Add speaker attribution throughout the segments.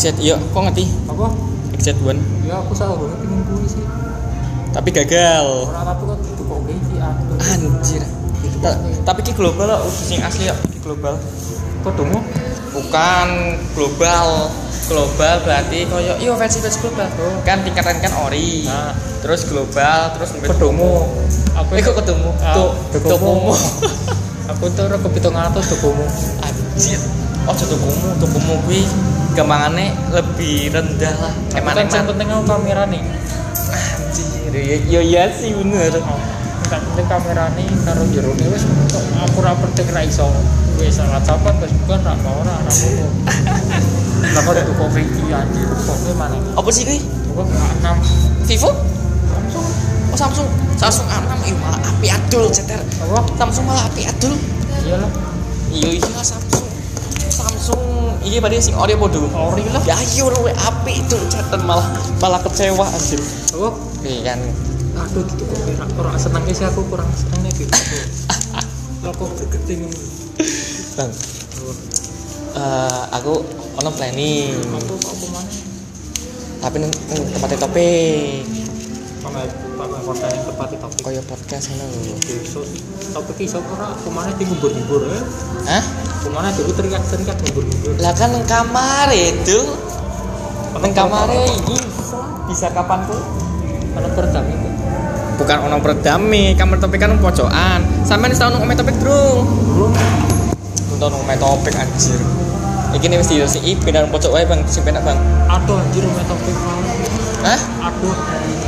Speaker 1: Exit, iya, kok ngerti?
Speaker 2: apa
Speaker 1: Exit One.
Speaker 2: ya aku salah banget pengen kuwi sih
Speaker 1: Tapi gagal.
Speaker 2: orang aku kan gitu kok kayak iki aku
Speaker 1: Anjir. Ta- tapi ki global loh, sing asli ya, ki global.
Speaker 2: kok dongo
Speaker 1: Bukan global. Global berarti koyo iya versi versi global. Kan tingkatan kan ori.
Speaker 2: Nah.
Speaker 1: Terus global, terus
Speaker 2: kok dongo aku
Speaker 1: Eh kok ketemu?
Speaker 2: Ah,
Speaker 1: Tuh,
Speaker 2: Dokomo.
Speaker 1: Dokomo.
Speaker 2: aku tuh orang kepitung atas dongomu
Speaker 1: Anjir. Oh, Dokomo, Dokomo kuwi gampangannya lebih rendah lah.
Speaker 2: emang kan yang
Speaker 1: Eman-eman.
Speaker 2: penting aku kamera nih
Speaker 1: Anjir. Ya ya iya sih bener.
Speaker 2: Enggak penting kamera nih karo jero nih wes kok aku ra penting ra iso wes salah capat wes bukan ra mau ra ra mau kenapa tuh kok kayak iki anjir kok kayak mana
Speaker 1: Apa sih kuwi?
Speaker 2: kok enam
Speaker 1: Vivo?
Speaker 2: langsung
Speaker 1: Oh Samsung, Samsung A6 iya malah api adul ceter.
Speaker 2: apa
Speaker 1: Samsung malah api adul.
Speaker 2: iyalah
Speaker 1: Iya iya Samsung. Samsung iya padahal sing ori podo.
Speaker 2: ori lah
Speaker 1: Ya iya luwe api itu ceter malah malah kecewa anjir.
Speaker 2: kok
Speaker 1: Iya kan.
Speaker 2: aduh gitu kok kayak kurang seneng sih aku kurang seneng nih gitu lo kok keting
Speaker 1: Bang, eh, aku ono planning
Speaker 2: aku kok aku mana
Speaker 1: tapi neng neng tempatnya topik
Speaker 2: pamer pamer konten yang tepat di topik
Speaker 1: koyo podcast ngono lho.
Speaker 2: besok topik iso ora aku mana di ngubur-ngubur ya
Speaker 1: Hah?
Speaker 2: aku mana dulu teriak-teriak ngubur-ngubur
Speaker 1: Lah kan neng kamar itu. Neng kamar iki bisa kapan pun.
Speaker 2: Kalau peredam itu
Speaker 1: bukan ono perdami kamar topik kan pojokan sampean wis tau nang omeh topik drung
Speaker 2: belum
Speaker 1: tau nang omeh topik anjir iki nih mesti si ipin nang pojok wae bang sing penak bang
Speaker 2: aduh anjir main topik malah
Speaker 1: hah
Speaker 2: aduh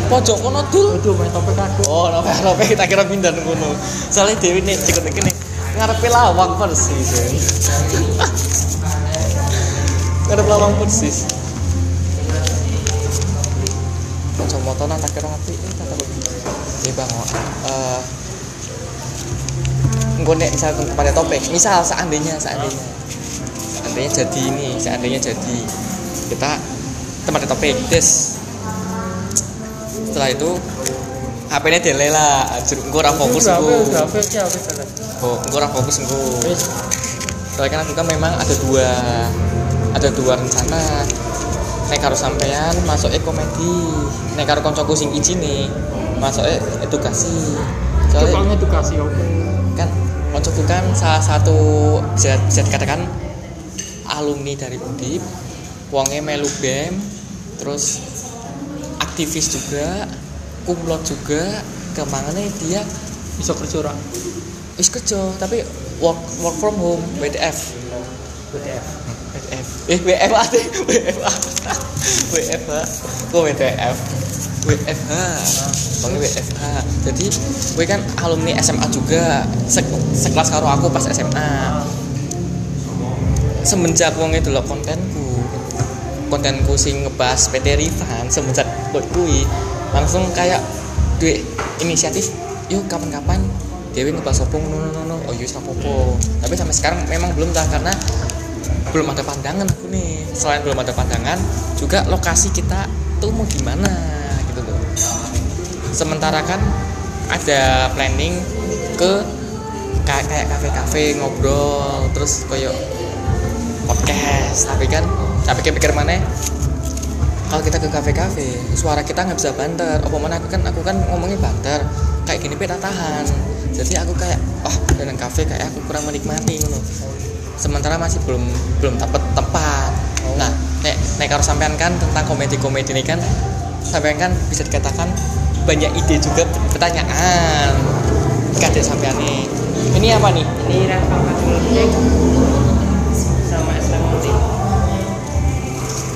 Speaker 1: pojok kono dul
Speaker 2: aduh main topik aduh
Speaker 1: oh nopo nopo kita kira pindah nang kono soalnya dewi nih cikut iki nih ngarepe lawang persis ya. ngarep lawang persis pojok motor nang tak kira ngati eh tak takut eh bang oh, eh engko nek misal kepada topik misal seandainya seandainya seandainya jadi ini seandainya jadi kita tempat topik des setelah itu HP-nya delay lah, anjir engko ora fokus
Speaker 2: Udah,
Speaker 1: engko.
Speaker 2: udah, udah, udah, ya, wis, udah.
Speaker 1: Oh, engko ora fokus engko.
Speaker 2: Wis.
Speaker 1: Soalnya kan kita memang ada dua ada dua rencana. Nek karo sampean masuk komedi, nek karo koncoku sing izin nih masuk edukasi.
Speaker 2: Coba
Speaker 1: Soalnya
Speaker 2: ngedukasi aku
Speaker 1: kan koncoku kan salah satu bisa, bisa dikatakan alumni dari Undip, wonge melu BEM, terus aktivis juga, kumlot juga, kemangane dia
Speaker 2: bisa kerja orang
Speaker 1: wis kerja tapi work work from home WTF
Speaker 2: BTF
Speaker 1: WTF eh WFH deh WFH WFH kok WTF WFH pokoknya WFH jadi gue kan alumni SMA juga Sek- sekelas karo aku pas SMA semenjak wong itu loh kontenku kontenku sing ngebahas PT Rifan semenjak buat kui langsung kayak duit inisiatif yuk kapan-kapan Dewi ngebahas opo no no no oh yus opo tapi sampai sekarang memang belum lah karena belum ada pandangan aku nih selain belum ada pandangan juga lokasi kita tuh mau gimana gitu loh sementara kan ada planning ke ka- kayak kafe-kafe ngobrol terus koyo podcast tapi kan tapi pikir-pikir mana kalau kita ke kafe-kafe suara kita nggak bisa banter apa mana aku kan aku kan ngomongnya banter kayak gini peta tahan jadi aku kayak oh dengan kafe kayak aku kurang menikmati ngono sementara masih belum belum dapet tempat nah nek nek harus sampean kan tentang komedi komedi ini kan sampean kan bisa dikatakan banyak ide juga pertanyaan kadek sampean nih ini apa nih
Speaker 3: Ini Rafa Fatulcek sama Islam Muti.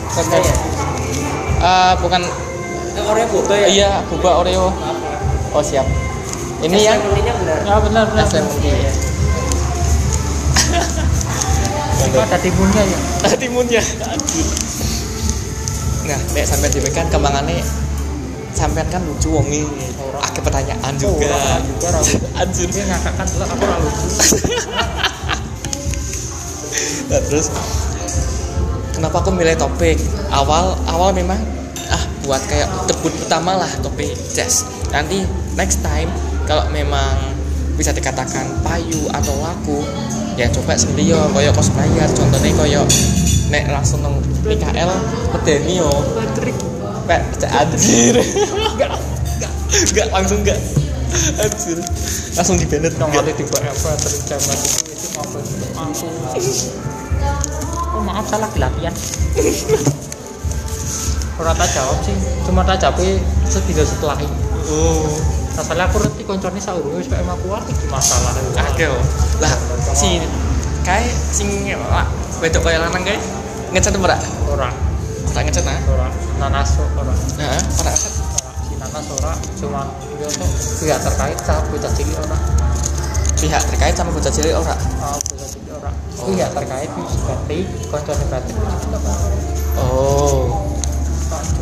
Speaker 1: Konten. Eh, bukan
Speaker 3: Orangnya buta ya?
Speaker 1: iya boba oreo oh siap ini yang
Speaker 3: Mutinya benar.
Speaker 2: ya benar benar
Speaker 1: Asam
Speaker 3: Iya.
Speaker 2: Apa ada timunnya ya
Speaker 1: timunnya nah nek sampean dhewe kan kemangane sampean kan lucu wonge akeh pertanyaan juga
Speaker 2: orang juga, Iya, orang.
Speaker 1: anjir
Speaker 2: dia ngakakkan dulu aku lalu
Speaker 1: Nah, terus kenapa aku milih topik awal awal memang ah buat kayak debut pertama lah topik jazz nanti next time kalau memang bisa dikatakan payu atau laku ya coba sendiri yo koyo cosplayer contohnya koyo nek langsung nang PKL medeni yo
Speaker 3: Patrick
Speaker 1: pek cek anjir enggak enggak enggak langsung enggak anjir langsung dibenet
Speaker 2: yang ada di BF terjaman itu itu ngapa langsung oh maaf salah latihan orang tak jawab sih cuma tak jawab setidak setelah ini
Speaker 1: oh
Speaker 2: masalah aku nanti koncornya saurungnya supaya emang aku aku masalah
Speaker 1: akeh oh. lah si kae sing wak, wedok kaya lanang kae ngecet ora
Speaker 2: orang
Speaker 1: ora ngecet ah
Speaker 2: orang nanas orang
Speaker 1: heeh ora ngecet
Speaker 2: orang si nanas orang cuma itu tuh pihak terkait sama bocah cilik orang
Speaker 1: pihak terkait sama bocah cilik ora
Speaker 2: Ah, bocah cilik orang pihak Oh, iya, terkait itu berarti koncornya berarti kita
Speaker 1: oh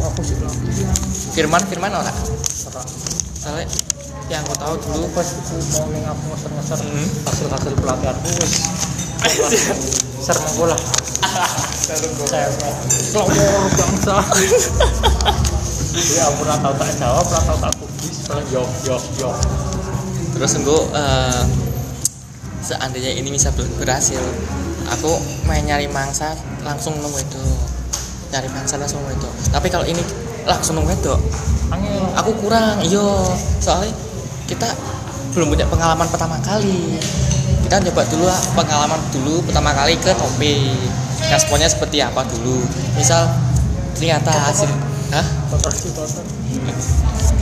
Speaker 2: aku sudah
Speaker 1: Firman Firman ora
Speaker 2: orang
Speaker 1: soalnya yang aku tahu dulu
Speaker 2: dulu pas aku mau ning aku ngeser-ngeser
Speaker 1: Hmm.
Speaker 2: hasil-hasil pelatihanku wis ser monggo lah saya kelompok bangsa ya aku ora tau tak jawab ora tau tak kubis soalnya yo yo yo
Speaker 1: terus gue eh, seandainya ini bisa ber- berhasil aku main nyari mangsa langsung nemu itu nyari mangsa langsung nemu itu tapi kalau ini langsung nemu itu
Speaker 2: angel
Speaker 1: aku kurang iyo soalnya kita belum punya pengalaman pertama kali kita coba dulu ah, pengalaman dulu pertama kali ke topik responnya seperti apa dulu misal ternyata hasil Hah?
Speaker 2: kotor sih kotor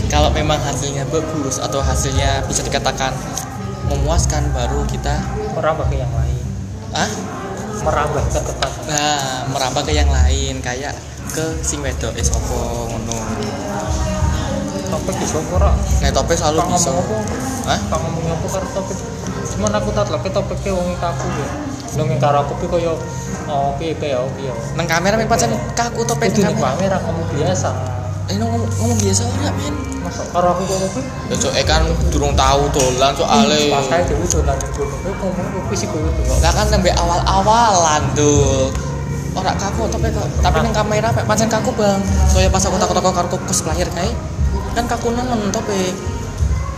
Speaker 1: kalau memang hasilnya bagus atau hasilnya bisa dikatakan memuaskan baru kita
Speaker 2: merambah ke yang lain
Speaker 1: ah
Speaker 2: merambah ke ketasan
Speaker 1: nah merambah ke yang lain kayak ke sing wedok eh sopo ngono
Speaker 2: topik di sopora
Speaker 1: nek topik selalu
Speaker 2: Kang
Speaker 1: bisa
Speaker 2: ngomong
Speaker 1: Hah?
Speaker 2: apa kang ngomong apa karo topik cuman aku tak lagi topiknya wong kaku ya lo ning karo aku pi koyo oh piye piye oh piye
Speaker 1: nang kamera memang pancen kaku topik
Speaker 2: itu
Speaker 1: nang
Speaker 2: nih
Speaker 1: kamera
Speaker 2: kamera kamu biasa
Speaker 1: eh no, ngomong, ngomong biasa ora men
Speaker 2: masa karo aku kok kopi
Speaker 1: ya cok eh kan durung tahu dolan soale
Speaker 2: pas saya dewi dolan di gunung aku ngomong kopi sih gue tuh
Speaker 1: lah kan nembe awal-awalan tuh ora kaku tapi kok tapi nang kamera pek pancen kaku bang soalnya pas aku takut-takut karo kus player kae kan kaku nemen topik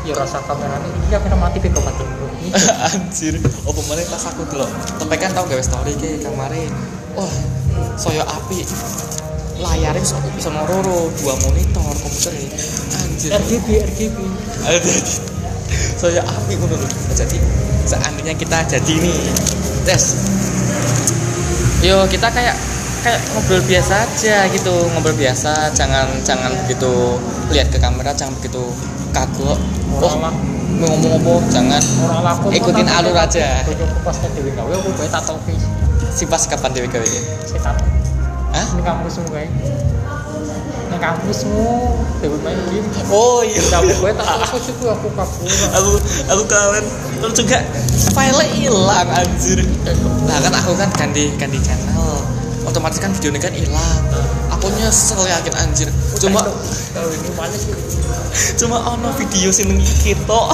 Speaker 2: ya rasa kamera ini iya kena mati pi kok mati dulu
Speaker 1: anjir oh kemarin pas aku dulu tapi kan tau gawe story ke kemarin wah soyo api layarnya bisa, bisa meroro dua monitor komputer Eh, ini anjir
Speaker 2: RGB RGB
Speaker 1: ada soyo api ngono lho. Nah, jadi seandainya kita jadi nih tes yo kita kayak kayak ngobrol biasa aja gitu ngobrol biasa jangan jangan begitu lihat ke kamera jangan begitu kagok oh
Speaker 2: orang lah
Speaker 1: mau ngomong apa jangan
Speaker 2: orang lah aku
Speaker 1: Ikutin alur aja.
Speaker 2: aku pas ke dewi gawe aku bae tak topi
Speaker 1: si pas kapan dewe gawe iki?
Speaker 2: saya tak
Speaker 1: Hah?
Speaker 2: ini kampus semua kayak ini kampus semua dewi main game
Speaker 1: Oh iya.
Speaker 2: tapi gue tak aku sih gue aku kabur
Speaker 1: aku aku kawan terus juga file hilang anjir. Nah kan aku kan ganti ganti channel. Otomatis kan videonya kan hilang. Aku nyesel yakin anjir. Cuma
Speaker 2: kalau ini mana sih
Speaker 1: cuma ono video sing nang iki tok.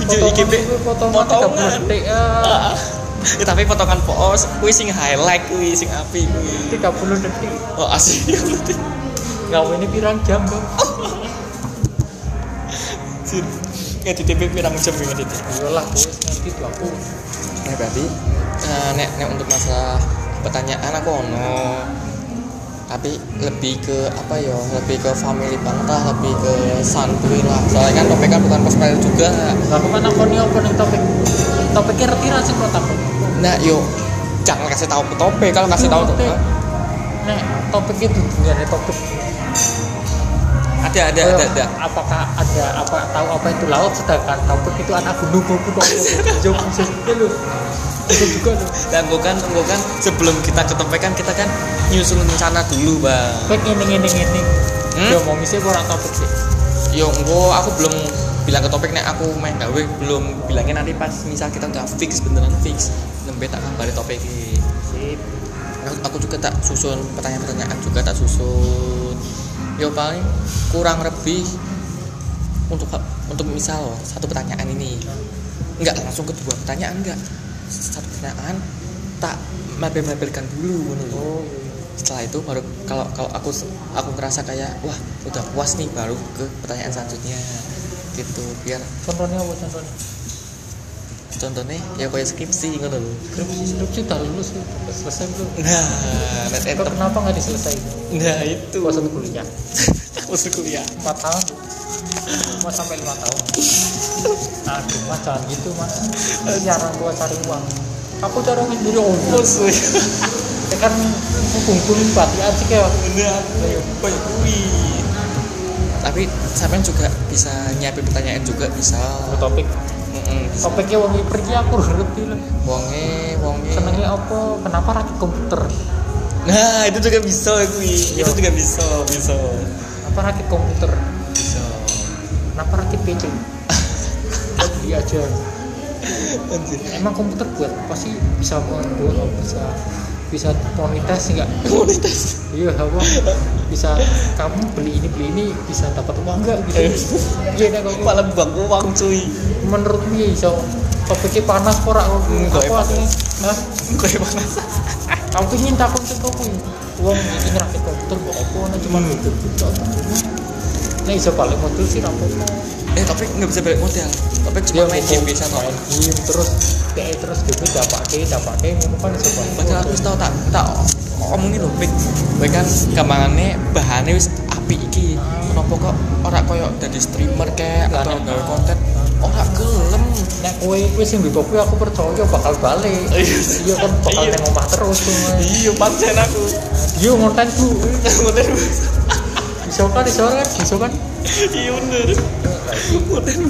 Speaker 1: Video iki Pi.
Speaker 2: foto
Speaker 1: potongan. Ah. Ya, tapi potongan poos kuwi sing highlight kuwi sing api kuwi.
Speaker 2: 30 detik
Speaker 1: Oh asli anjir.
Speaker 2: ngawe ini pirang jam bang
Speaker 1: Ngedit TV pirang jam ya, ngedit.
Speaker 2: iyalah gue Iya nanti 20
Speaker 1: Nah berarti eh, nek nek untuk masalah pertanyaan aku ono tapi lebih ke apa ya lebih ke family banget lah lebih ke santuy lah soalnya kan topik kan bukan cosplay juga
Speaker 2: aku kan aku nih apa nih topik topiknya reti rasi kok tak
Speaker 1: nah yuk jangan kasih tahu ke topik kalau kasih tahu
Speaker 2: Topik.
Speaker 1: topik
Speaker 2: nek topik itu dunia nih topik
Speaker 1: ada ada
Speaker 2: Ayo,
Speaker 1: ada ada
Speaker 2: apakah ada apa tahu apa itu laut sedangkan topik itu anak gunung buku kok jauh bisa juga lu itu juga lu
Speaker 1: dan gue kan gue kan sebelum kita ke topik kan kita kan nyusun rencana dulu bang
Speaker 2: topik ini ini ini
Speaker 1: Hmm?
Speaker 2: dia mau ngisi kurang topik sih
Speaker 1: yo engko aku belum bilang ke topik nek aku main gawe belum bilangnya nanti pas misal kita udah fix beneran fix nembe tak kabari topik iki
Speaker 2: sip
Speaker 1: aku, aku juga tak susun pertanyaan-pertanyaan juga tak susun yo paling kurang lebih untuk untuk misal loh, satu pertanyaan ini enggak langsung kedua pertanyaan enggak satu pertanyaan tak mapel-mapelkan dulu ngono lho.
Speaker 2: oh
Speaker 1: setelah itu baru kalau kalau aku aku ngerasa kayak wah udah puas nih baru ke pertanyaan selanjutnya gitu biar
Speaker 2: contohnya apa contohnya
Speaker 1: contohnya ya kayak skripsi ngono lho
Speaker 2: skripsi skripsi udah lulus udah selesai belum
Speaker 1: nah net
Speaker 2: Kok
Speaker 1: etep
Speaker 2: kenapa nggak diselesaikan
Speaker 1: nah itu
Speaker 2: Kok satu kuliah
Speaker 1: masuk kuliah
Speaker 2: empat tahun mau sampai lima tahun nah mas jangan gitu mas ini orang tua cari uang aku cari uang sendiri oh iya.
Speaker 1: musuh
Speaker 2: Ya kan hukum-hukum bati asik ya
Speaker 1: benar banyak kui tapi sampean juga bisa nyiapin pertanyaan juga bisa
Speaker 2: topik
Speaker 1: Mm-mm.
Speaker 2: topiknya wangi pergi aku nggak ngerti lah
Speaker 1: wonge wonge
Speaker 2: senengnya apa kenapa rakit komputer
Speaker 1: nah itu juga bisa kui itu juga bisa bisa
Speaker 2: kenapa rakit komputer
Speaker 1: bisa
Speaker 2: kenapa rakit PC Kan dia aja
Speaker 1: anjir
Speaker 2: emang komputer buat apa sih bisa membuat apa, bisa bisa monetize nggak
Speaker 1: komunitas
Speaker 2: iya apa bisa kamu beli ini beli ini bisa dapat uang nggak
Speaker 1: Eh.
Speaker 2: gitu iya dah kamu
Speaker 1: malah bang uang cuy
Speaker 2: menurut dia iso topiknya panas porak
Speaker 1: Hmm,
Speaker 2: aku
Speaker 1: kok
Speaker 2: aku
Speaker 1: panas.
Speaker 2: aslinya nah
Speaker 1: kayak mana
Speaker 2: aku ingin takut sih kau kui uang ini ngerakit komputer kok apa nah cuma
Speaker 1: Hmm.
Speaker 2: gitu gitu nah iso paling modul sih rampok
Speaker 1: eh tapi nggak bisa balik modal tapi cuma main game bisa ya? toh
Speaker 2: Iya, main game terus kayak terus gitu dapat ke dapat ke ngono kan iso paling
Speaker 1: padahal aku
Speaker 2: modul.
Speaker 1: wis tau tak tak omongin lho pik kowe kan gampangannya bahannya wis api iki kenapa kok ora koyo dari streamer kayak
Speaker 2: Lah,
Speaker 1: atau
Speaker 2: nek-
Speaker 1: gawe konten ora gelem
Speaker 2: Nek kowe wis sing mbok aku percaya bakal balik.
Speaker 1: Iya.
Speaker 2: Iya kan bakal
Speaker 1: Iya.
Speaker 2: nang omah terus kowe.
Speaker 1: iya pancen aku
Speaker 2: Iya ngonten Bu.
Speaker 1: model
Speaker 2: Bisa kan iso kan bisa kan.
Speaker 1: iya bener model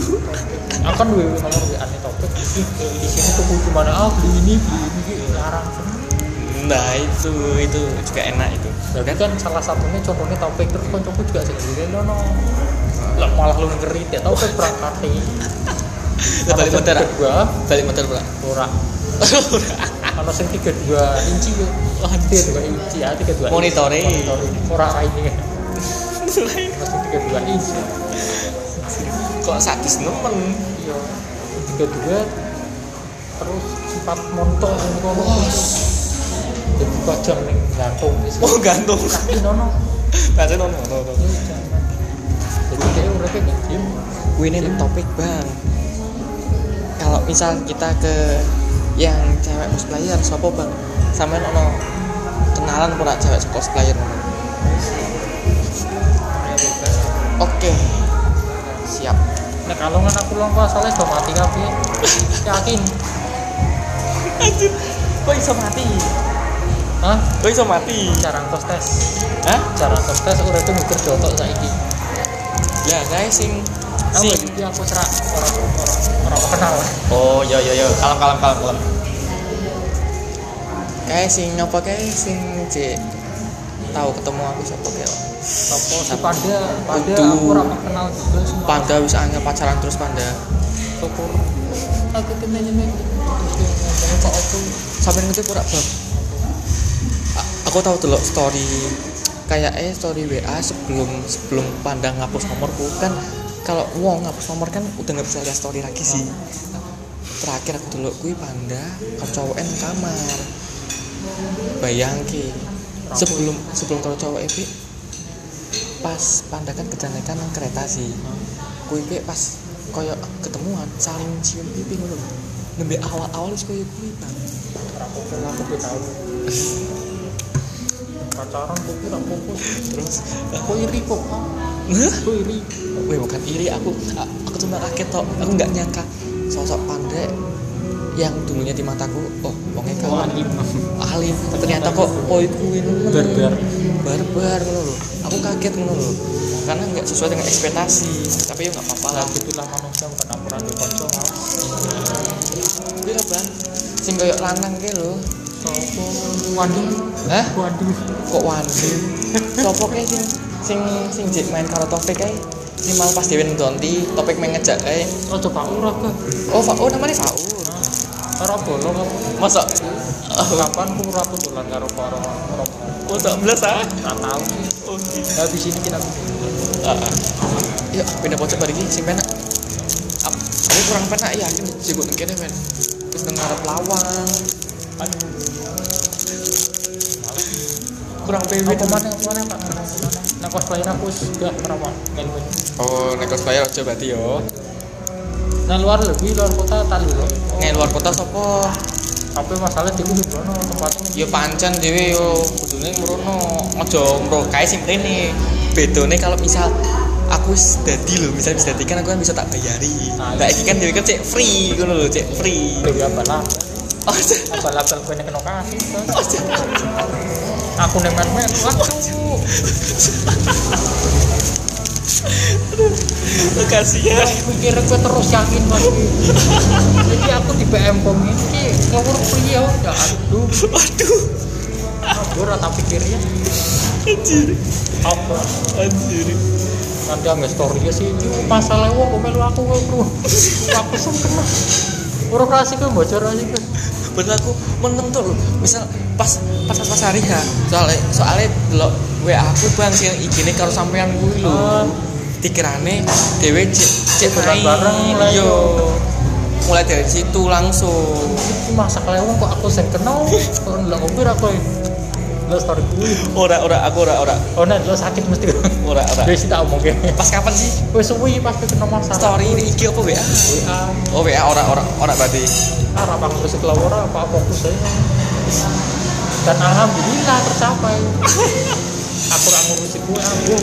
Speaker 2: Aku kan duwe nomor WA-ne topik. Ih, Di sini tuku di mana ah beli ini beli ini gitu. larang.
Speaker 1: nah itu itu juga enak itu
Speaker 2: Jadi kan salah satunya contohnya topik terus kancaku juga sing ngene lono. Lah malah lu ngeri ya topik berangkat
Speaker 1: Lah, balik modal, ah?
Speaker 2: gua
Speaker 1: balik modal pula
Speaker 2: ora. Kalau sing 32 inci
Speaker 1: Iya.
Speaker 2: yo. Oh, 32 inci ya, 32.
Speaker 1: Monitore.
Speaker 2: Ora ini. Mas sing 32 inci.
Speaker 1: kok sadis nemen
Speaker 2: Iya. 32 terus sempat montok ning kono. Jadi kocok ning jantung wis.
Speaker 1: mau gantung Nah,
Speaker 2: Kaki nono.
Speaker 1: pancen ono ono
Speaker 2: Iya, jangan. Jadi dia uripnya nggak diem.
Speaker 1: Wih, ini topik bang kalau misal kita ke yang cewek cosplayer siapa bang sampean ono kenalan pura cewek cosplayer oke siap
Speaker 2: Nah kalau nggak aku lompat soalnya sudah mati kabeh. Yakin?
Speaker 1: anjir kok iso mati
Speaker 2: Hah?
Speaker 1: kok iso mati
Speaker 2: Cara ngkos tes.
Speaker 1: hah
Speaker 2: Cara ngkos tes uripnya mikir jotok saiki.
Speaker 1: ya saya sing
Speaker 2: Aku
Speaker 1: sing
Speaker 2: jadi aku cerak orang orang orang kenal.
Speaker 1: oh yo yo yo kalem kalem kalem kalem kayak sing apa kayak sing cek tahu ketemu aku siapa kayak
Speaker 2: Sopo si Panda, Panda
Speaker 1: Aduh.
Speaker 2: aku ora kenal juga semua.
Speaker 1: Panda wis angel pacaran terus Panda.
Speaker 2: Syukur. Aku kena nyemek. Ngomong kok aku.
Speaker 1: Sampeyan ngerti ora, Bang? A- Aku tahu delok story kayak eh story WA sebelum sebelum Panda ngapus nomorku kan kalau wong ngapus nomor kan udah nggak bisa lihat story lagi sih. Terakhir aku delok kuwi Panda kecowoken nang kamar. Bayangke. Sebelum sebelum kalau cowok itu pas Panda kan kejadian nang kereta sih. kui pe pas koyo ketemuan saling cium pipi ngono lho. nembe awal-awal wis koyo kuwi bang
Speaker 2: Ora popo lah, aku gue tahu. Pacaran kok ora popo.
Speaker 1: terus
Speaker 2: Aku iri kok.
Speaker 1: "Hah?
Speaker 2: Aku iri.
Speaker 1: weh bukan iri aku a- aku cuma kaget tok aku nggak nyangka sosok pandai yang dulunya di mataku oh wongnya
Speaker 2: Kau
Speaker 1: kawan
Speaker 2: alim.
Speaker 1: alim ternyata kok koi kuwi ngono.
Speaker 2: Barbar.
Speaker 1: barbar ngono lho aku kaget ngono lho karena nggak sesuai dengan ekspektasi tapi ya nggak apa-apa lah
Speaker 2: Itulah manusia bukan campuran di konco mau.
Speaker 1: kuwi lho Iya, bang sing koyo lanang ke lho
Speaker 2: Sopo Wandi.
Speaker 1: Hah?
Speaker 2: Wandi.
Speaker 1: kok wandi sopo kae sing sing sing jek main karo topik kae sing malah pas dhewe ndonti topik main ngejak kae
Speaker 2: Oh coba urah ke. Nah,
Speaker 1: oh fa oh namanya faul
Speaker 2: Ora bolong aku.
Speaker 1: masa
Speaker 2: Kapan aku ora putulan karo para orang.
Speaker 1: oh tak belas ah
Speaker 2: Ora tahu.
Speaker 1: oh
Speaker 2: Habis ini kita
Speaker 1: ya pindah pojok bari iki sing penak Ap- ini kurang penak ya ini sibuk nang kene men terus nang ngarep lawang
Speaker 2: Aduh.
Speaker 1: kurang PW
Speaker 2: Apa mana apa mana pak? Nah cosplayer aku juga merawat main main.
Speaker 1: oh nek cosplayer aja berarti yo
Speaker 2: nah luar lebih luar kota tak dulu
Speaker 1: Nek luar kota sapa?
Speaker 2: tapi masalah di kudu tempatnya
Speaker 1: Ya pancen dhewe yo kudune mrono. Aja mro kae sing mrene. Bedone kalau misal aku wis dadi lho, misal wis dadi kan aku kan bisa tak bayari.
Speaker 2: Ah,
Speaker 1: Lah iki kan dhewe kan cek free ngono lho, cek free.
Speaker 2: lebih apa lah
Speaker 1: Aja.
Speaker 2: apa lah kalau kena kena kasih terus.
Speaker 1: Aja.
Speaker 2: aku nemen men waduh
Speaker 1: Kasihan.
Speaker 2: pikir gue terus yakin mas jadi aku di BM pom ini ngawur pria oh, udah aduh
Speaker 1: Waduh.
Speaker 2: gue rata pikirnya
Speaker 1: Anjir.
Speaker 2: apa
Speaker 1: Anjir.
Speaker 2: nanti ambil story sih ini masalah wong gue melu aku gue bro aku sungkem lah urung rasik gue bocor rasik gue
Speaker 1: Bener aku meneng tuh lho. Misal pas pas pas hari ha. Soalnya soalnya delok WA aku Bang sing igine karo sampean kuwi lho.
Speaker 2: Ah.
Speaker 1: Dikirane dhewe cek cek
Speaker 2: Beneran bareng lah,
Speaker 1: Iya.
Speaker 2: yo.
Speaker 1: Mulai dari situ langsung.
Speaker 2: ini masak lewong kok aku sen kenal kalau nggak ngopir aku lo story gue
Speaker 1: Ora ora aku ora ora
Speaker 2: oh nah lo sakit mesti
Speaker 1: ora ora.
Speaker 2: gue sih tak omong gue
Speaker 1: Pas kapan sih
Speaker 2: suwi pasti kena Ah, masalah
Speaker 1: story ini IG apa WA?
Speaker 2: WA
Speaker 1: Oh WA ora ora ora berarti.
Speaker 2: ah rapang musik lawara apa fokus saya dan alhamdulillah tercapai aku orang ngurusin gue aku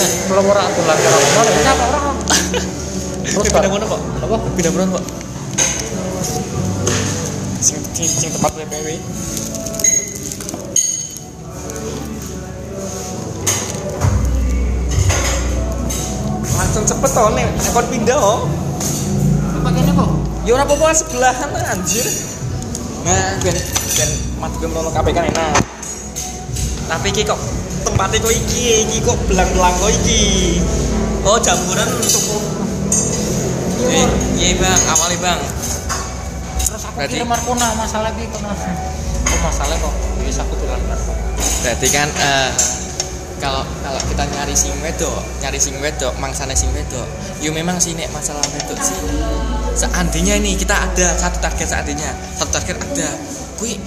Speaker 2: nah lawara aku lagi orang orang siapa orang terus
Speaker 1: Eh,
Speaker 2: kan
Speaker 1: pindah mana kok?
Speaker 2: apa
Speaker 1: Pindah bulan kok. Sing sing, sing tempat PPW. Langsung cepet toh nih, ekor pindah oh.
Speaker 2: apa gini kok
Speaker 1: Ya ora apa-apa sebelahan lah, anjir. Nah, ben ben mat gue menolong KPK kan enak. Tapi iki kok tempatnya kok iki, iki kok belang-belang kok iki. Oh, jamuran cukup.
Speaker 2: Iya,
Speaker 1: Eh, iya bang, awalnya bang.
Speaker 2: terus aku
Speaker 1: Berarti-
Speaker 2: kirim Markona masalah gitu nah oh masalah kok jadi aku bilang Markona
Speaker 1: Berarti kan eh, kalau kalau kita nyari sing wedok, nyari sing wedok, mangsane sing wedok. Yo memang sih nek masalah wedok sih. Seandainya ini kita ada satu target seandainya, satu target ada. Kui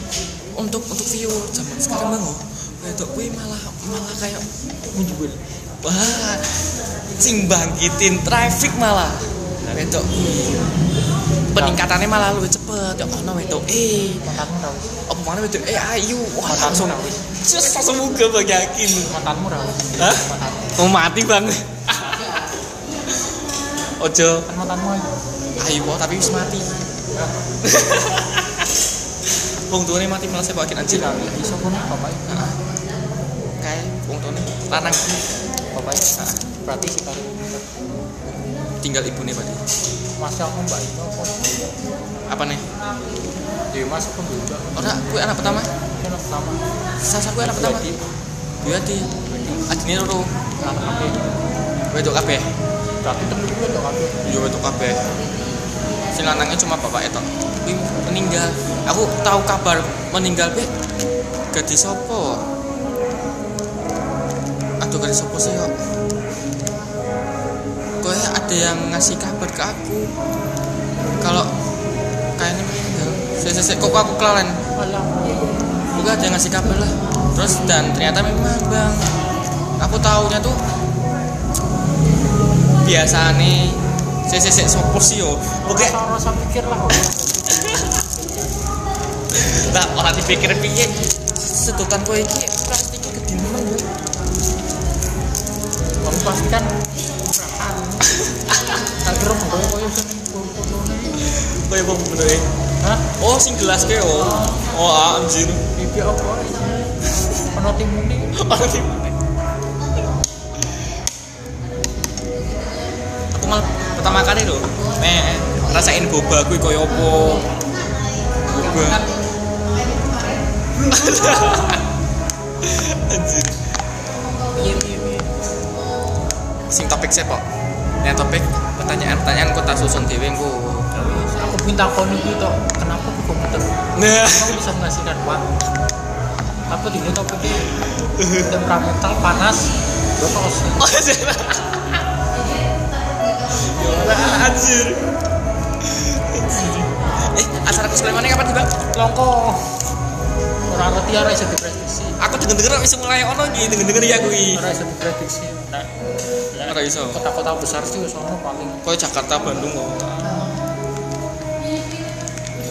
Speaker 1: untuk untuk view zaman sekarang bang oh, wedok kui malah malah kayak
Speaker 2: menjual
Speaker 1: wah sing bangkitin traffic malah wedok kui. Peningkatannya malah lebih cepet. Ya ono wedok eh
Speaker 2: mantanmu rawis
Speaker 1: apa mana wedok eh ayu wah
Speaker 2: Mantanmu
Speaker 1: langsung
Speaker 2: rawis
Speaker 1: Cus langsung muga bang yakin.
Speaker 2: mantanmu rawis
Speaker 1: Hah?
Speaker 2: mantanmu
Speaker 1: Mau mati bang. Ojo.
Speaker 2: kan mantanmu aja
Speaker 1: Ayo kok tapi wis mati.
Speaker 2: Nah,
Speaker 1: Wong tuane mati malah saya bawakin anjing.
Speaker 2: tidak bisa pun bapak
Speaker 1: Heeh. Kae wong tuane lanang
Speaker 2: bapak berarti sih kali
Speaker 1: tinggal ibune berarti.
Speaker 2: masih aku mbak itu aku
Speaker 1: Apa nih?
Speaker 2: Dewi Iya, Mas pun juga
Speaker 1: Ora kuwi anak pertama.
Speaker 2: kan pertama
Speaker 1: Sasa kuwi anak pertama. Dua di. Adine loro.
Speaker 2: anak kakek
Speaker 1: Wedok kabeh.
Speaker 2: berarti temen gue tuh kakek
Speaker 1: Iya wedok kabeh. Sing lanangnya cuma bapak etok. Kuwi meninggal. Aku tahu kabar meninggal be. Gadis sopo? Aduh gadis sopo sih kok? Kayaknya ada yang ngasih kabar ke aku. Kalau kayaknya meninggal. Saya saya kok aku kelalen.
Speaker 2: alah iya,
Speaker 1: Juga ada yang ngasih kabar lah. Terus dan ternyata memang bang. Aku taunya tuh biasa nih. Saya saya sopo sih yo. Pokoknya
Speaker 2: rasa rasa pikir lah
Speaker 1: Nah, orang dipikir piye sedotan kowe iki plastik kedinemen ya.
Speaker 2: kamu pasti kan murahan tak kira mau gue koyo sini foto-fotonya.
Speaker 1: Kowe wong bener e?
Speaker 2: hah
Speaker 1: Oh, sing gelas kowe oh. Oh, ah, anjir.
Speaker 2: bibi apa penoti muni
Speaker 1: Orang di Aku malah pertama kali lho, meh rasain boba kuwi koyo apa. Boba. anjir.
Speaker 3: Iya, iya, iya.
Speaker 1: Sing topik siapa? Yang topik pertanyaan-pertanyaan kok tak susun dhewe engko.
Speaker 2: aku minta koni gitu kenapa aku komputer
Speaker 1: Nah.
Speaker 2: kamu bisa menghasilkan uang tapi di gitu tapi temperamental panas gue tos
Speaker 1: Oh, anjir. Yolah, anjir. Anjir. Eh, acara kesulemaannya kapan sih, Bang?
Speaker 2: longko orang ngerti orang bisa diprediksi
Speaker 1: Aku denger-denger wis mulai ono iki, denger-denger ya kuwi.
Speaker 2: orang bisa diprediksi nah,
Speaker 1: Ora iso.
Speaker 2: kota-kota besar sih soalnya paling
Speaker 1: Kok Jakarta Bandung kok.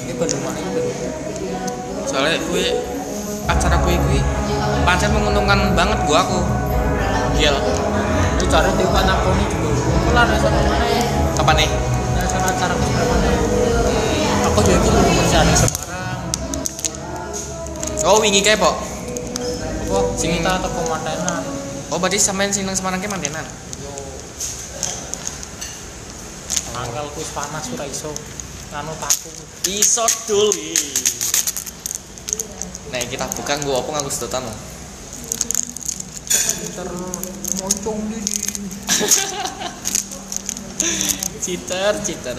Speaker 1: ini baru main soalnya kue acara kue kue pancen menguntungkan banget gua aku Iya gil
Speaker 2: Ini cari tiup anak kau ini juga kumpulan ya sama mana ya
Speaker 1: kapan nih
Speaker 2: Nah, sama acara kesemuanya ya? aku juga gitu dulu masih ada Semarang
Speaker 1: oh wingi kayak po
Speaker 2: apa
Speaker 1: Sing-
Speaker 2: kita atau komandanan
Speaker 1: oh berarti sampean sing nang Semarang ki mantenan
Speaker 2: tanggal kuis panas ora iso Anu nganu taku
Speaker 1: iso duli nah kita bukan gua apa nganggo sedotan lo
Speaker 2: pinter moncong di
Speaker 1: citer citer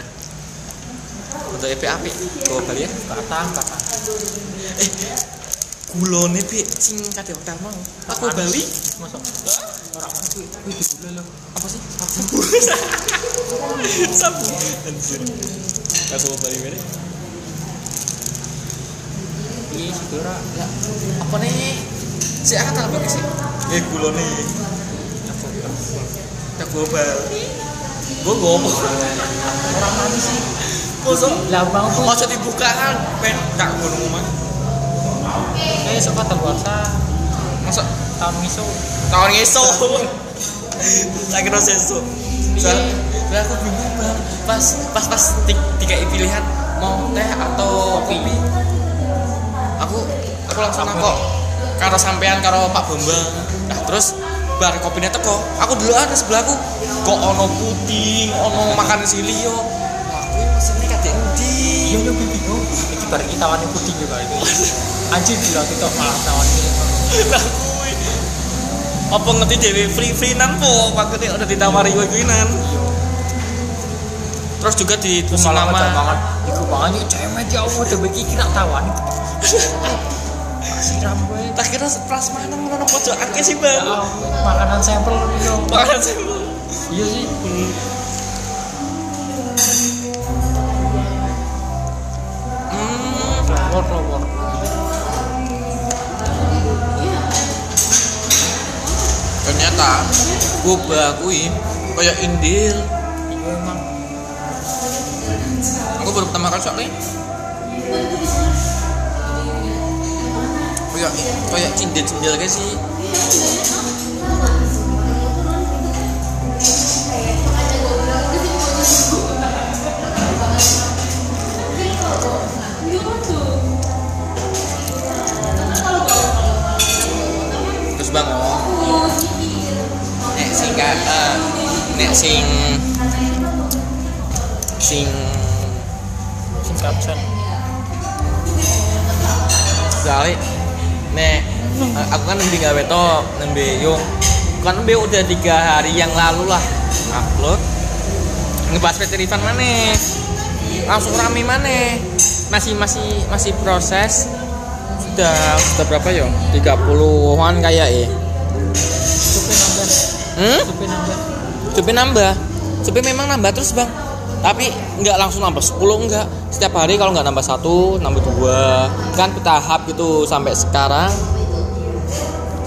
Speaker 1: untuk EP api gua bali ya
Speaker 2: katang katang
Speaker 1: Eh, gulone pi sing kate hotel mau aku bali
Speaker 2: masuk orang aku itu di gula loh
Speaker 1: apa sih sabu sabu anjir aku mau bali mana
Speaker 2: iya sih ora
Speaker 1: ya apa nih si aku tak bagi sih eh gulone
Speaker 2: aku
Speaker 1: tak gua bali gua ngomong
Speaker 2: orang mana sih
Speaker 1: kosong
Speaker 2: lambang tuh
Speaker 1: Ojo dibuka kan, pen tak gunung mah.
Speaker 2: eh suka terbiasa
Speaker 1: Masa
Speaker 2: tahun miso
Speaker 1: tahun ngeso. tak kira sesu. Soalnya soalnya Iya. aku bingung banget. Pas pas pas ti- tiga pilihan mau teh atau kopi. Aku aku langsung
Speaker 2: Apa?
Speaker 1: nangkok karo sampean karo Pak Bambang. Nah, terus bar kopinya teko. Aku dulu ada sebelahku. Kok ono puding, ono makan silio. Wah, aku mesinnya kadek endi?
Speaker 2: iya yo bingung ini bareng kita wani putih juga itu anjir gila kita malah tawan ini
Speaker 1: lah kuwi apa ngerti dhewe free free nan po pakete udah ditawari
Speaker 2: Iya.
Speaker 1: kowe kuwi nan terus juga di
Speaker 2: Terus
Speaker 1: tulis
Speaker 2: malah ngejak
Speaker 1: nama
Speaker 2: banget Iku banget yuk cemet ya Allah Udah bagi kita tawan Siram gue
Speaker 1: tak kira prasmanan ngono pojok akeh sih
Speaker 2: Ya
Speaker 1: bang
Speaker 2: Allah, Makanan sampel gitu
Speaker 1: Makan sih, Bu.
Speaker 2: Iya sih
Speaker 1: hmm
Speaker 2: Lor lor
Speaker 1: ternyata boba kuwi kayak indil
Speaker 2: Iya emang
Speaker 1: aku baru pertama kali soalnya kayak kayak cindil cindil kayak sih terus bang oh. nek sing ka- eh, nek sing sing
Speaker 2: Sing kapsen
Speaker 1: soalnya nek eh, aku kan nembe gawe to nembe yo kan nembe udah tiga hari yang lalu lah upload ngebahas peterivan mana langsung rame mana masih masih masih proses sudah sudah berapa yo 30-an kayak ya
Speaker 2: Supin nambah
Speaker 1: hmm?
Speaker 2: Supin nambah
Speaker 1: Cepet nambah. Cepet memang nambah terus, Bang. Tapi nggak langsung nambah 10 enggak. Setiap hari kalau nggak nambah satu, nambah dua. Kan bertahap gitu sampai sekarang.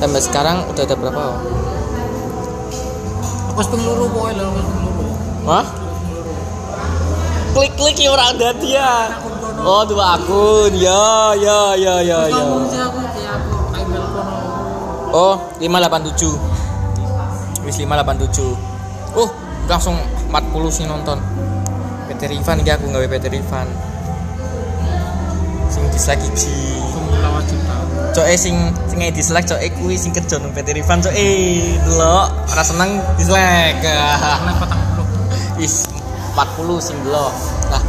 Speaker 1: Sampai sekarang udah ada berapa? Om?
Speaker 2: Aku sepeng lulu pokoknya lho Aku sepeng lulu
Speaker 1: Wah? Klik-klik ya orang ada dia. Oh, dua akun. Ya, ya, ya, ya,
Speaker 2: Terus
Speaker 1: ya.
Speaker 2: ngomong sih aku Kayak aku Kayak belkon
Speaker 1: Oh, 587. Wis 587. Uh, langsung 40 sih nonton. PT Rifan iki aku nggawe PT Rifan. Sing dislike iki.
Speaker 2: Aku lawat cinta
Speaker 1: Coke sing sing ngai dislike coke kuwi sing kerja nang PT Rifan coke Eh, delok ora seneng dislike.
Speaker 2: Karena patang puluh
Speaker 1: Is 40 sing delok. Nah.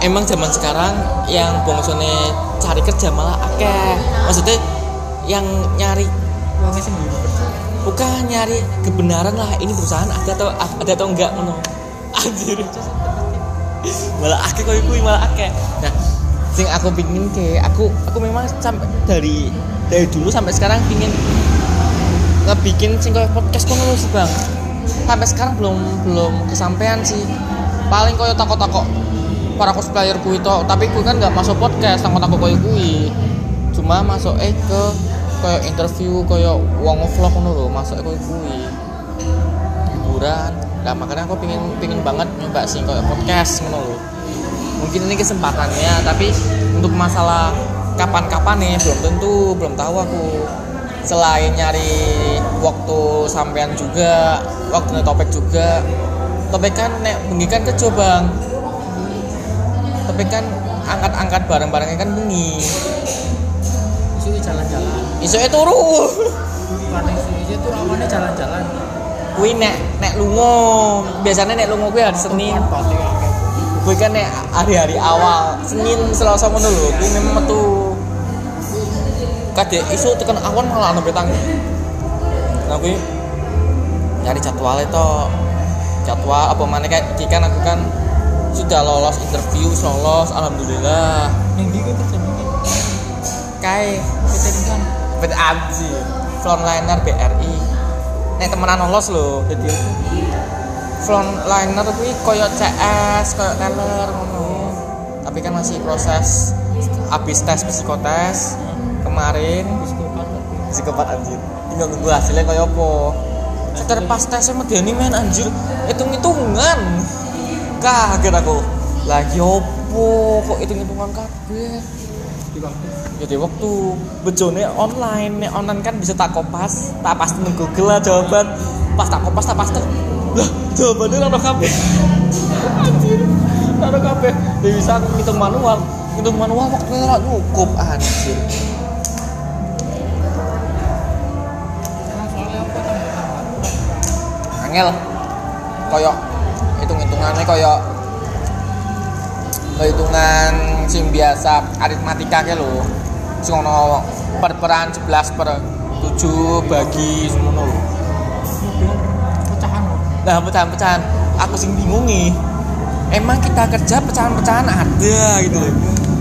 Speaker 1: Emang zaman sekarang yang bongsone cari kerja malah akeh. Maksudnya yang nyari
Speaker 2: Uangnya sih belum kerja
Speaker 1: bukan nyari kebenaran lah ini perusahaan ada atau ada atau enggak ngono anjir malah akeh koyo kuwi malah akeh nah sing aku pingin ke aku aku memang sampai dari dari dulu sampai sekarang pingin ngebikin sing koyo podcast ngono sih bang sampai sekarang belum belum kesampaian sih paling koyo takok-takok para cosplayer kui to tapi kui kan nggak masuk podcast takok-takok koyo kui cuma masuk eh ke koyo interview koyo wong vlog ngono lho masuk koyo kui hiburan nah makanya aku pingin pingin banget nyoba sih koyo podcast ngono lho mungkin ini kesempatannya tapi untuk masalah kapan-kapan nih belum tentu belum tahu aku selain nyari waktu sampean juga waktu topik juga topik kan nek bengi kan kejo bang topik kan angkat-angkat barang-barangnya kan bengi
Speaker 2: Isu jalan-jalan.
Speaker 1: isoke turu
Speaker 2: Bukan isu isu itu rawannya jalan-jalan.
Speaker 1: kuwi nek nek lungo biasanya nek lungo kuwi hari Senin
Speaker 2: Pasti kayak
Speaker 1: kuwi kan nek hari-hari awal Senin Selasa ngono lho kuwi memang metu kadek isu tekan awan malah nembe tangi nah kuwi nyari jadwal itu jadwal apa mana kayak iki kan aku kan sudah lolos interview lolos alhamdulillah
Speaker 4: Minggu itu kerja minggu.
Speaker 1: kae ketinggalan bet anjir frontliner BRI nek temenan lolos lho dadi aku frontliner kuwi koyo CS koyo teller ngono tapi kan masih proses habis tes psikotes kemarin
Speaker 4: Psikopat.
Speaker 1: psikopat anjir tinggal nunggu hasilnya koyo apa setelah pas tesnya medeni men anjir hitung-hitungan kaget aku lagi opo kok hitung-hitungan kaget
Speaker 4: Di waktu.
Speaker 1: jadi waktu bejone online nek online kan bisa tak kopas tak pasti neng google lah jawaban pas tak kopas tak pasti lah jawabannya rano kabe anjir rano kabe dia bisa aku ngitung manual ngitung manual waktunya rano cukup anjir
Speaker 2: karena soalnya apa
Speaker 1: angel koyok hitung-hitungannya koyok hitungan sing biasa aritmatika ke lho sing ono perperan 11 per 7 bagi semono lho
Speaker 2: pecahan loh.
Speaker 1: Nah pecahan-pecahan aku sing bingung nih. Emang kita kerja pecahan-pecahan ada gitu loh.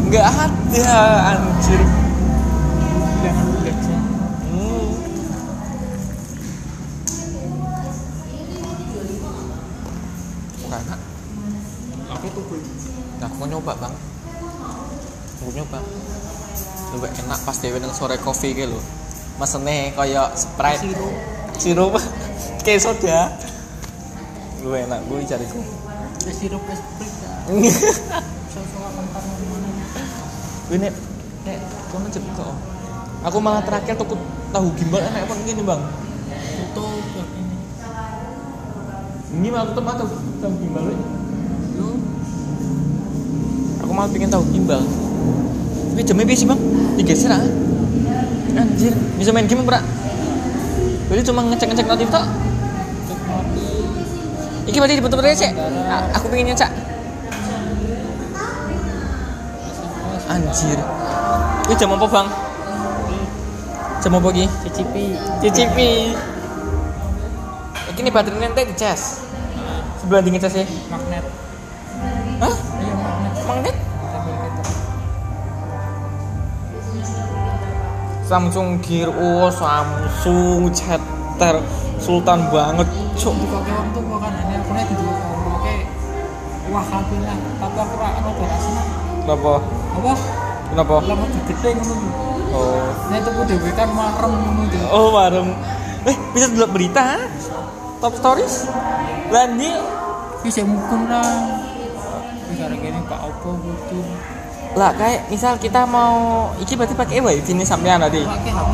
Speaker 1: Nggak ada anjir.
Speaker 4: Jangan relax ya.
Speaker 1: Hmm. Kok nggak enak?
Speaker 4: Aku tuh gue.
Speaker 1: Nah, aku mau nyoba bang. Aku nyoba. Lebih enak pas dewe nang sore kopi gitu loh. Mesene koyo Sprite.
Speaker 2: Sirup.
Speaker 1: Sirup. Kayak soda. Lu enak gue cariku.
Speaker 2: Es sirup es prik. Sosokan kental mana?
Speaker 1: Gue nek nek kono cepet kok. Aku malah terakhir tuku tahu gimbal enak apa ngene, Bang?
Speaker 2: Itu kayak ini.
Speaker 1: Ini malah aku tempat tahu tahu gimbal. we.
Speaker 2: Lu
Speaker 1: Aku malah pengen tahu gimbal. Tapi jamnya piye sih, Bang? Digeser ah. Anjir, bisa main game ora? Jadi cuma ngecek-ngecek notif tok.
Speaker 2: cek mati.
Speaker 1: Iki berarti dibentuk-bentuk sih. A- Aku pengen nyecak.
Speaker 2: SMS.
Speaker 1: Anjir. Ini jam apa, Bang? Jam apa iki?
Speaker 2: Cicipi.
Speaker 1: Cicipi. Iki nih baterainya nanti dicas. Sebelah dingin cas ya.
Speaker 2: Magnet.
Speaker 1: Hah?
Speaker 2: Iya magnet.
Speaker 1: Magnet?
Speaker 2: Kabel kita.
Speaker 1: Samsung Gear O, Samsung Chatter, Sultan banget, cuk.
Speaker 2: Di kaki waktu makanannya aku nih di dua orang. Oke. Wah kabel lah. Tapi aku rak aku berasnya.
Speaker 1: Kenapa?
Speaker 2: Apa?
Speaker 1: Kenapa?
Speaker 2: Lama digede ngono.
Speaker 1: Oh.
Speaker 2: Nek tuku dhewe kan marem ngono to.
Speaker 1: Oh, warung. Eh, bisa dulu berita? ha? Top stories? Landi?
Speaker 2: Wis ya mukun lah. Wis arek kene Pak Opo butuh.
Speaker 1: Lah, kayak misal kita mau iki berarti pakai wifi nih sampean tadi.
Speaker 2: Pakai HP.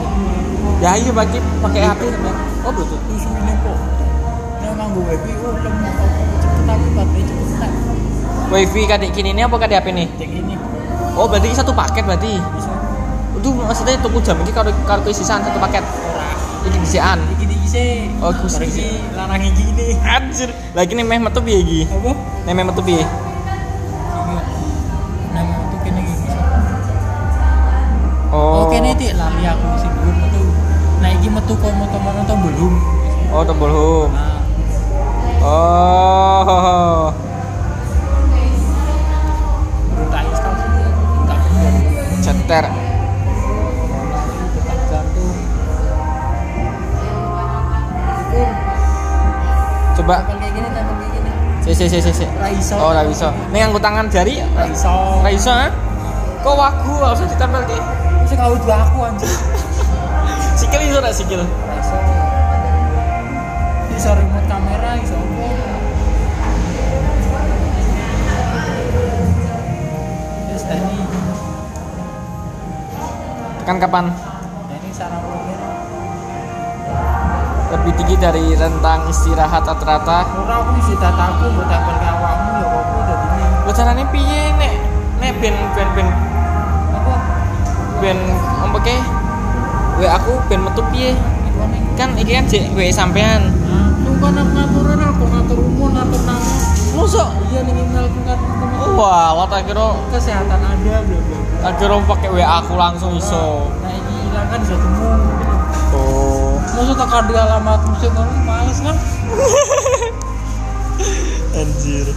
Speaker 1: Ya iya pakai pakai HP sampean. Oh, Bluetooth.
Speaker 2: Wis ngene kok. Nek nganggo wifi oh lem opo cepetan baterai cepetan.
Speaker 1: Wifi kadek kini ini apa kadek HP nih?
Speaker 2: Cek ini
Speaker 1: Oh, berarti ini satu paket berarti.
Speaker 2: bisa
Speaker 1: Itu maksudnya tunggu jam ini kalau kalau keisian satu paket.
Speaker 2: ora.
Speaker 1: Ini bisaan.
Speaker 2: Iki iki se.
Speaker 1: Oh, iki sih.
Speaker 2: Bareng iki lanang iki ini.
Speaker 1: Anjir, lagi nih meh metu piye iki?
Speaker 2: Apa?
Speaker 1: Nih meh metu piye?
Speaker 2: Iya. Nang itu kene iki bisa.
Speaker 1: Oh.
Speaker 2: Oh, kene tik lali aku sing dhuwur metu. Nah iki metu kok metu-metu to belum.
Speaker 1: Oh, tombol home.
Speaker 2: Nah,
Speaker 1: Oh.
Speaker 2: belum tak install sih. Tak bener.
Speaker 1: Ceter.
Speaker 2: tetap jantung Kum,
Speaker 1: Coba
Speaker 2: tempel kayak gini, tempel kayak gini
Speaker 1: si si si si. si.
Speaker 2: Raiso
Speaker 1: Oh, ra iso. Nih nganggo tangan jari
Speaker 2: Raiso
Speaker 1: ra iso. ha? Kok wagu harusnya ditempel ke?
Speaker 2: Bisa kau dua aku anjir
Speaker 1: Sikil iso ra sikil?
Speaker 2: Raiso Bisa remote kamera, bisa apa
Speaker 1: kan kapan
Speaker 2: Nah, ini sarang kuliner
Speaker 1: lebih tinggi dari rentang istirahat rata-rata
Speaker 2: ora aku isi dataku mbok tempelke awakmu ya apa dadi ini.
Speaker 1: Lo caranya piye nek nek ben ben ben
Speaker 2: apa
Speaker 1: ben apa ke? we aku ben metu piye
Speaker 2: itu aneh
Speaker 1: kan iki kan jek we sampean
Speaker 2: Lu kan aku ngaturin aku ngatur umur ngatur nama
Speaker 1: musuh
Speaker 2: Iya nih email aku ngatur nama
Speaker 1: Oh, wah lo tak kira
Speaker 2: Kesehatan anda bla bla bla
Speaker 1: tak kira pakai we aku langsung iso
Speaker 2: Nah ini hilang kan bisa temu
Speaker 1: oh
Speaker 2: Maksud tak ada alamat musik kan males kan
Speaker 1: anjir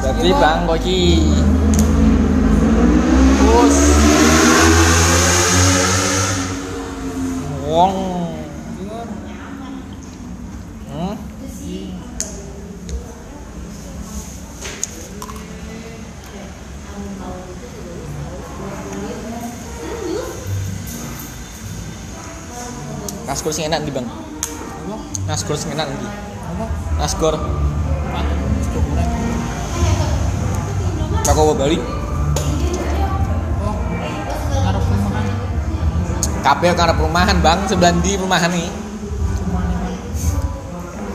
Speaker 1: berarti bang koki bos wong
Speaker 2: Iya
Speaker 1: hmm? Naskur sing enak ndi, Bang?
Speaker 2: Apa?
Speaker 1: Naskur sing enak ndi?
Speaker 2: Apa?
Speaker 1: Naskur
Speaker 2: Pak, sudah goreng
Speaker 1: Cakwa Bali
Speaker 2: Oh, ngarep makan
Speaker 1: kabeh karena perumahan, Bang. Sebelah ndi perumahan iki?
Speaker 2: Cuma nih kan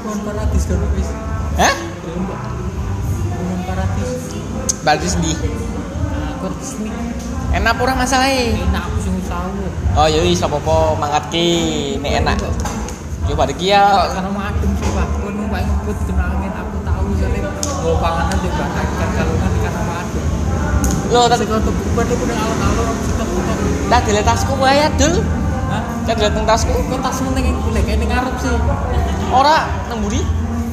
Speaker 2: Bukan paradis kan wis
Speaker 1: Hah?
Speaker 2: Bukan paradis
Speaker 1: Berarti ndi?
Speaker 2: Aku harus nih
Speaker 1: Enak ora e? masalahe?
Speaker 2: Enak aku sing tahu
Speaker 1: Oh, ya wis apa-apa mangkat ki, nek enak. Yo pada ki ya
Speaker 2: karena mau adem sih pak gue numpak ngebut kena angin aku tahu soalnya gue panganan di batang ikan kalungan karena mau adem
Speaker 1: Lo tadi
Speaker 2: tapi kalau tuh gue tuh udah alon-alon aku sudah kutok
Speaker 1: tak dilihat tasku wae, Dul.
Speaker 2: hah
Speaker 1: Tak dilihat nang tasku.
Speaker 2: gue tas penting yang boleh kayak ini ngarep sih
Speaker 1: Ora nemburi.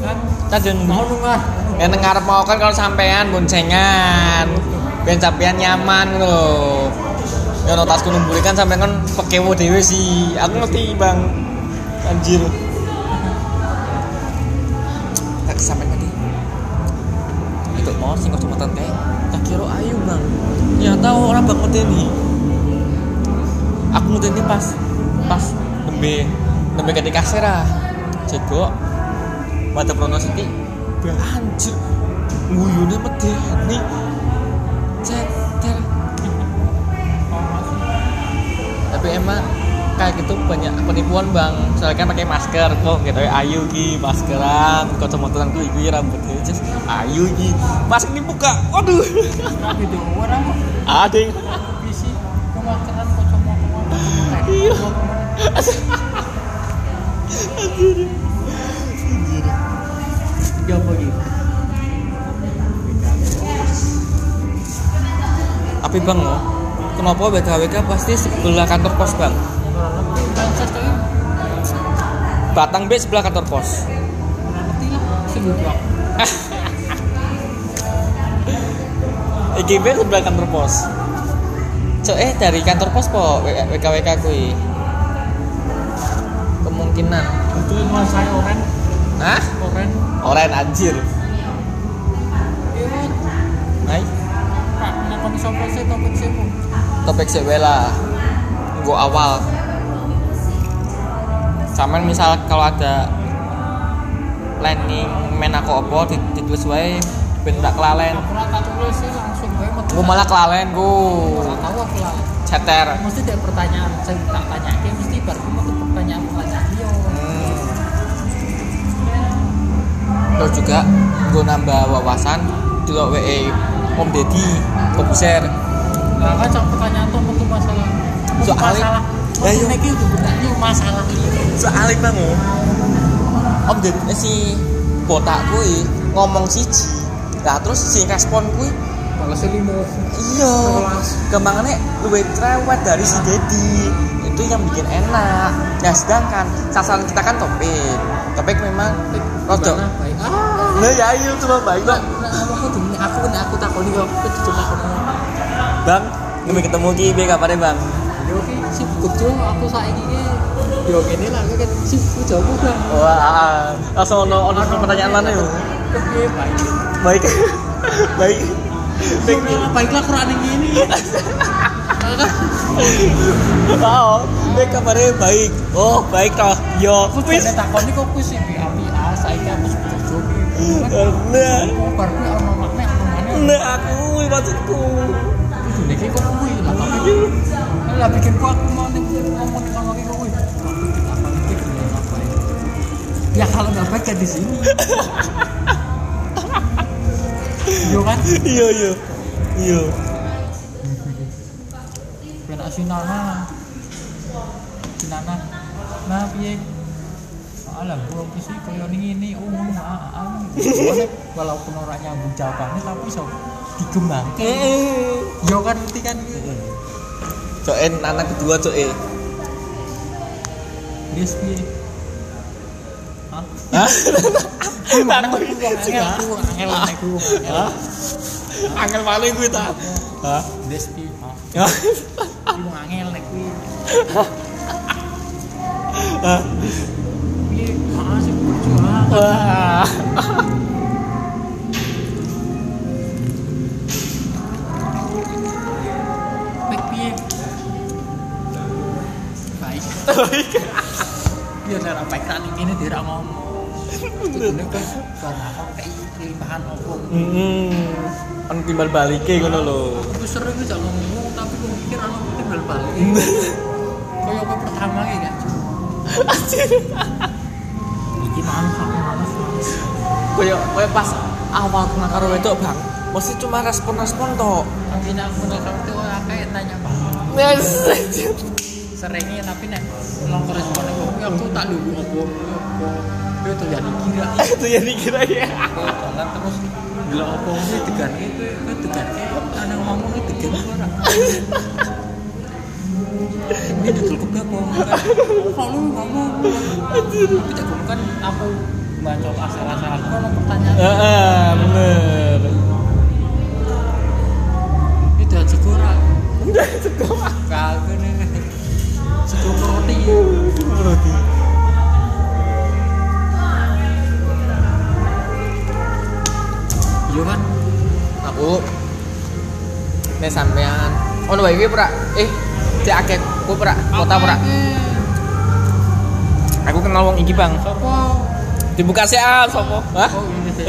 Speaker 2: kan
Speaker 1: Tak dilihat
Speaker 2: mau
Speaker 1: nemburi.
Speaker 2: nungah
Speaker 1: Ya nang ngarep mau kan kalau sampean boncengan. Ben sampean nyaman lho. Ya ono tasku nemburi kan sampean kan pekewo dhewe sih. Aku ngerti, Bang. Anjir. Tak sampean tadi. Itu mau sing kecamatan teh. Tak kira ayu, Bang. Ya tahu orang Bang ngedeni. Aku ngedeni pas pas nembe nembe ketika serah. Cegok. Mata Prono City anjir nguyune medeni ceter tapi emang kayak gitu banyak penipuan bang soalnya kan pakai masker kok gitu ya ayu ki maskeran kacamataan gue gue rambutnya just ayu ki masker dibuka waduh
Speaker 2: tapi di orang kok
Speaker 1: ada yang
Speaker 2: bisi kemakeran kok cuma kemakeran iya Ya apa gitu?
Speaker 1: tapi bang lo kenapa BKWK pasti sebelah kantor pos bang
Speaker 2: Orang ngerti, Frances tapi
Speaker 1: Batang B sebelah kantor pos
Speaker 2: orang ngerti lah, sebuah
Speaker 1: IGB sebelah kantor pos Cok eh dari kantor pos po W- WKWK kui Kemungkinan
Speaker 2: Itu yang saya orang,
Speaker 1: Hah?
Speaker 2: orang
Speaker 1: Oren anjir
Speaker 2: Iya,
Speaker 1: Hai
Speaker 2: Pak, nek kon iso proses topik sih Bu.
Speaker 1: Topik sewela Gue awal Saman misal kalau ada Planning men aku opo di- ditulis wae Ben tak kelalen
Speaker 2: Aku ora tak tulis sih langsung gue metu.
Speaker 1: Gue malah kelalen gue
Speaker 2: ora tahu aku lah.
Speaker 1: Ceter
Speaker 2: Mesti ada pertanyaan sing tak tanyake mesti bar ku metu pertanyaan pertanyaan yo.
Speaker 1: terus juga gue nambah wawasan dulu WE Om Deddy Kompuser
Speaker 2: Lah kan cak pertanyaan tuh metu masalah. Metu
Speaker 1: Soalnya-
Speaker 2: masalah.
Speaker 1: Ya,
Speaker 2: Lah
Speaker 1: iya.
Speaker 2: yo nek itu bener yo masalah iki.
Speaker 1: soalnya bang Om Deddy eh, si botak kui ngomong siji lah terus si respon kui
Speaker 2: Balas limo.
Speaker 1: iya kembangannya luwe cerewet dari si Deddy itu yang bikin enak nah sedangkan sasaran kita kan topik topik memang rodok
Speaker 2: Baik. Ah.
Speaker 1: Nah ya iya cuma baik bang
Speaker 2: Nah, aku demi aku nek aku takoni yo aku jujur takoni.
Speaker 1: Bang, kami ketemu ki, piye kabarnya bang?
Speaker 2: Yo ki sibuk yo aku saiki ki yo kene lah aku kan sibuk jago bang.
Speaker 1: Wah, langsung ono ono pertanyaan mana ya? yuk?
Speaker 2: Kepiye baik.
Speaker 1: Baik, baik. Baik.
Speaker 2: Baiklah Quran yang ini.
Speaker 1: Wow, baik kabarnya baik. Oh, baik toh. Yo,
Speaker 2: ah, Aku pengen takon ini kok aku sih api A, saiki aku sibuk jogi.
Speaker 1: Nah,
Speaker 5: Kobar kuwi ana makne aku ngene.
Speaker 1: nah aku maksudku.
Speaker 5: Kudu niki kok kuwi lah tapi
Speaker 2: lah bikin gua aku mau nih ngomong nih kalau kayak gue ya kalau nggak baik ya di sini Yo kan,
Speaker 1: Iya, iya. Iya.
Speaker 5: ben asinana.
Speaker 2: Sinana, nah piye? Soalnya gua aku sih kaya ini ini, oh ngomong ah ah, ah. Soalnya walaupun orang nyambung jawabannya tapi so digembang. Yo kan ngerti kan?
Speaker 1: Coen anak kedua cok eh.
Speaker 2: Yes piye? Hah?
Speaker 1: Hah?
Speaker 2: Aku wong angel,
Speaker 1: ah.
Speaker 2: aku wong angel, aku wong angel.
Speaker 1: Angel paling gue ta. Hah?
Speaker 2: Yes piye? Hah?
Speaker 1: Hah?
Speaker 2: Aku wong angel, aku piye?
Speaker 1: Hah?
Speaker 2: Piye? Ah sih percuma.
Speaker 1: Wah.
Speaker 2: Baik piye? Baik. Iya darah baik kan ini dia ora ngomong. Ini kan karena kan kayak kelimpahan opung.
Speaker 1: Hmm. Kan timbal balike ngono lho.
Speaker 2: Aku sering bisa ngomong tapi aku pikir aku mungkin balik balik. Kayak apa pertama ya kan? Iki manis aku manis manis.
Speaker 1: Koyo koyo pas awal kenal karo wedok, Bang. Mesti cuma respon-respon tok.
Speaker 2: Tapi nek aku nggak ngerti oh kayak tanya pak.
Speaker 1: Yes.
Speaker 2: Seringnya tapi nek long respon aku aku tak lugu opo. opo. Itu tuh jadi kira.
Speaker 1: Itu yang dikira ya.
Speaker 2: jalan terus gila opo sih degan itu itu degan anak ngomong itu degan itu orang ini duduk kebak ngomong kan kok lu ngomong tapi tak ngomong kan aku baca asal-asal aku kan mau
Speaker 1: Eh?
Speaker 2: pertanyaan
Speaker 1: Heeh, bener.
Speaker 2: ini udah cukup udah cukup kagak nih cukup roti
Speaker 1: Roti.
Speaker 2: iya kan
Speaker 1: aku nek sampean ono wae iki, pra eh cek akeh ku pra kota pra aku kenal wong iki bang
Speaker 2: sopo
Speaker 1: dibuka sih ah sopo hah
Speaker 2: oh ini sih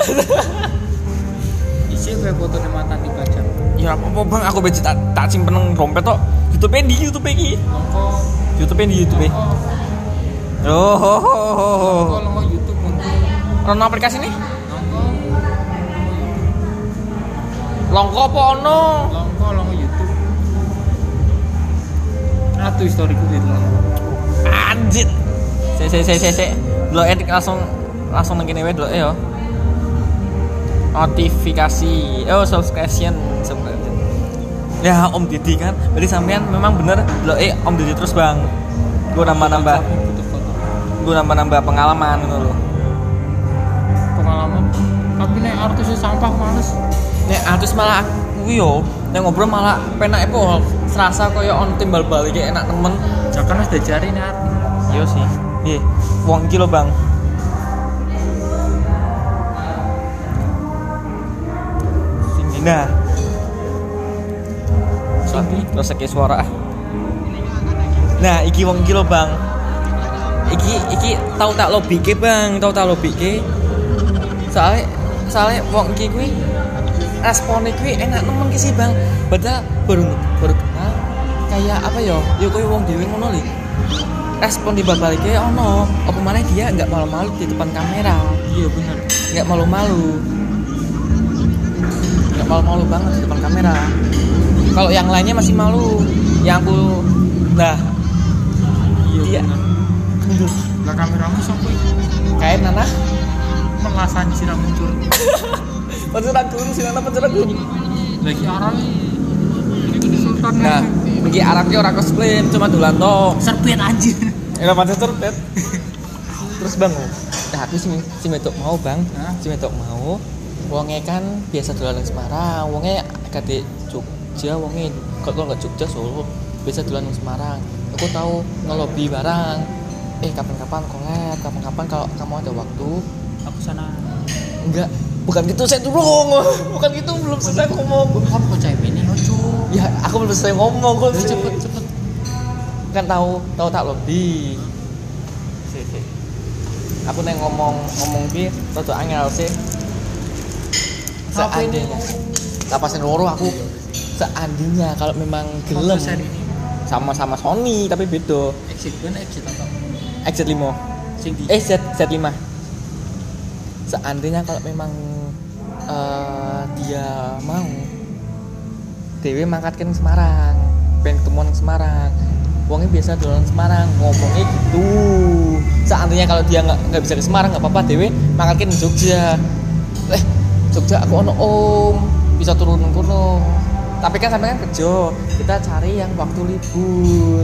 Speaker 2: isi gue foto mata dipajang
Speaker 1: ya apa apa, bang aku becet tak tak simpen nang dompet tok youtube di youtube iki
Speaker 2: nongko
Speaker 1: youtube di youtube oh ho, ho, ho, ho.
Speaker 2: kalau mau YouTube mungkin
Speaker 1: Rono aplikasi ini
Speaker 2: nongko
Speaker 1: longko apa ono
Speaker 2: nongko lo mau YouTube satu historiku di dalam
Speaker 1: anjir se se se se se lo edik langsung langsung nang kene wae dulu eh yo notifikasi oh subscription subscription ya om didi kan berarti sampean memang bener lo eh om didi terus bang gue nambah nambah
Speaker 2: Aku butuh foto
Speaker 1: gue nambah nambah pengalaman gitu loh
Speaker 2: pengalaman tapi nih artisnya sampah males
Speaker 1: nek artis malah aku yo nek ngobrol malah penak iku serasa koyo on timbal balik kayak enak temen
Speaker 2: jangan harus dicari nih artis
Speaker 1: yo sih iya wong iki lho bang Nah,
Speaker 2: Sindi
Speaker 1: terus iki suara ah. Nah, iki wong iki lho, Bang. Iki iki tau tak lobike, Bang. Tau tak lobike. Soale soale wong iki kuwi responnya kuwi enak nemen ki sih, Bang. Padahal baru baru kenal kayak apa ya? Ya kuwi wong dhewe ngono lho. Respon di baliknya ono, apa mana dia nggak malu-malu di depan kamera,
Speaker 2: iya benar
Speaker 1: nggak malu-malu, nggak malu-malu banget di depan kamera. Kalau yang lainnya masih malu, yang aku nah
Speaker 2: iya
Speaker 1: Iya.
Speaker 2: benar lah kameramu sampai
Speaker 1: kayak nana
Speaker 2: melasan siram muncul
Speaker 1: pencurah guru sih nana pencurah guru
Speaker 2: lagi arah ini sultan
Speaker 1: gitu. nah pergi arab ki orang cosplay cuma dolan toh
Speaker 2: serpian anjir
Speaker 1: era pacar terpet terus bang oh. nah aku sih si metok mau bang
Speaker 2: Hah?
Speaker 1: si metok mau wonge kan biasa dolan nang Semarang wonge kate Jogja wonge kok kok nggak Jogja Solo biasa dolan nang Semarang aku tahu ngelobi barang eh kapan-kapan kolab kapan-kapan kalau kamu ada waktu
Speaker 2: aku sana
Speaker 1: enggak bukan gitu saya dulu bukan gitu belum selesai ngomong
Speaker 2: kamu kok cai ini ojo
Speaker 1: ya aku belum selesai ngomong kok
Speaker 2: Ayo,
Speaker 1: sih.
Speaker 2: cepet cepet
Speaker 1: kan tahu tahu tak lebih aku neng ngomong ngomong bi tahu tuh angel sih seandainya lapasan loro aku seandainya kalau memang gelem
Speaker 2: Seri ini
Speaker 1: sama-sama Sony tapi beda
Speaker 2: exit kan exit apa?
Speaker 1: XZ5
Speaker 2: Sing di
Speaker 1: eh Z, Z5 seandainya kalau memang eh, dia mau Dewi mangkat ke Semarang pengen ketemuan ke Semarang Wongnya biasa dolan Semarang ngomongnya gitu seandainya kalau dia nggak nggak bisa ke Semarang nggak apa-apa Dewi mangkat ke Jogja eh Jogja aku ono om bisa turun kuno tapi kan sampai kan kerja kita cari yang waktu libur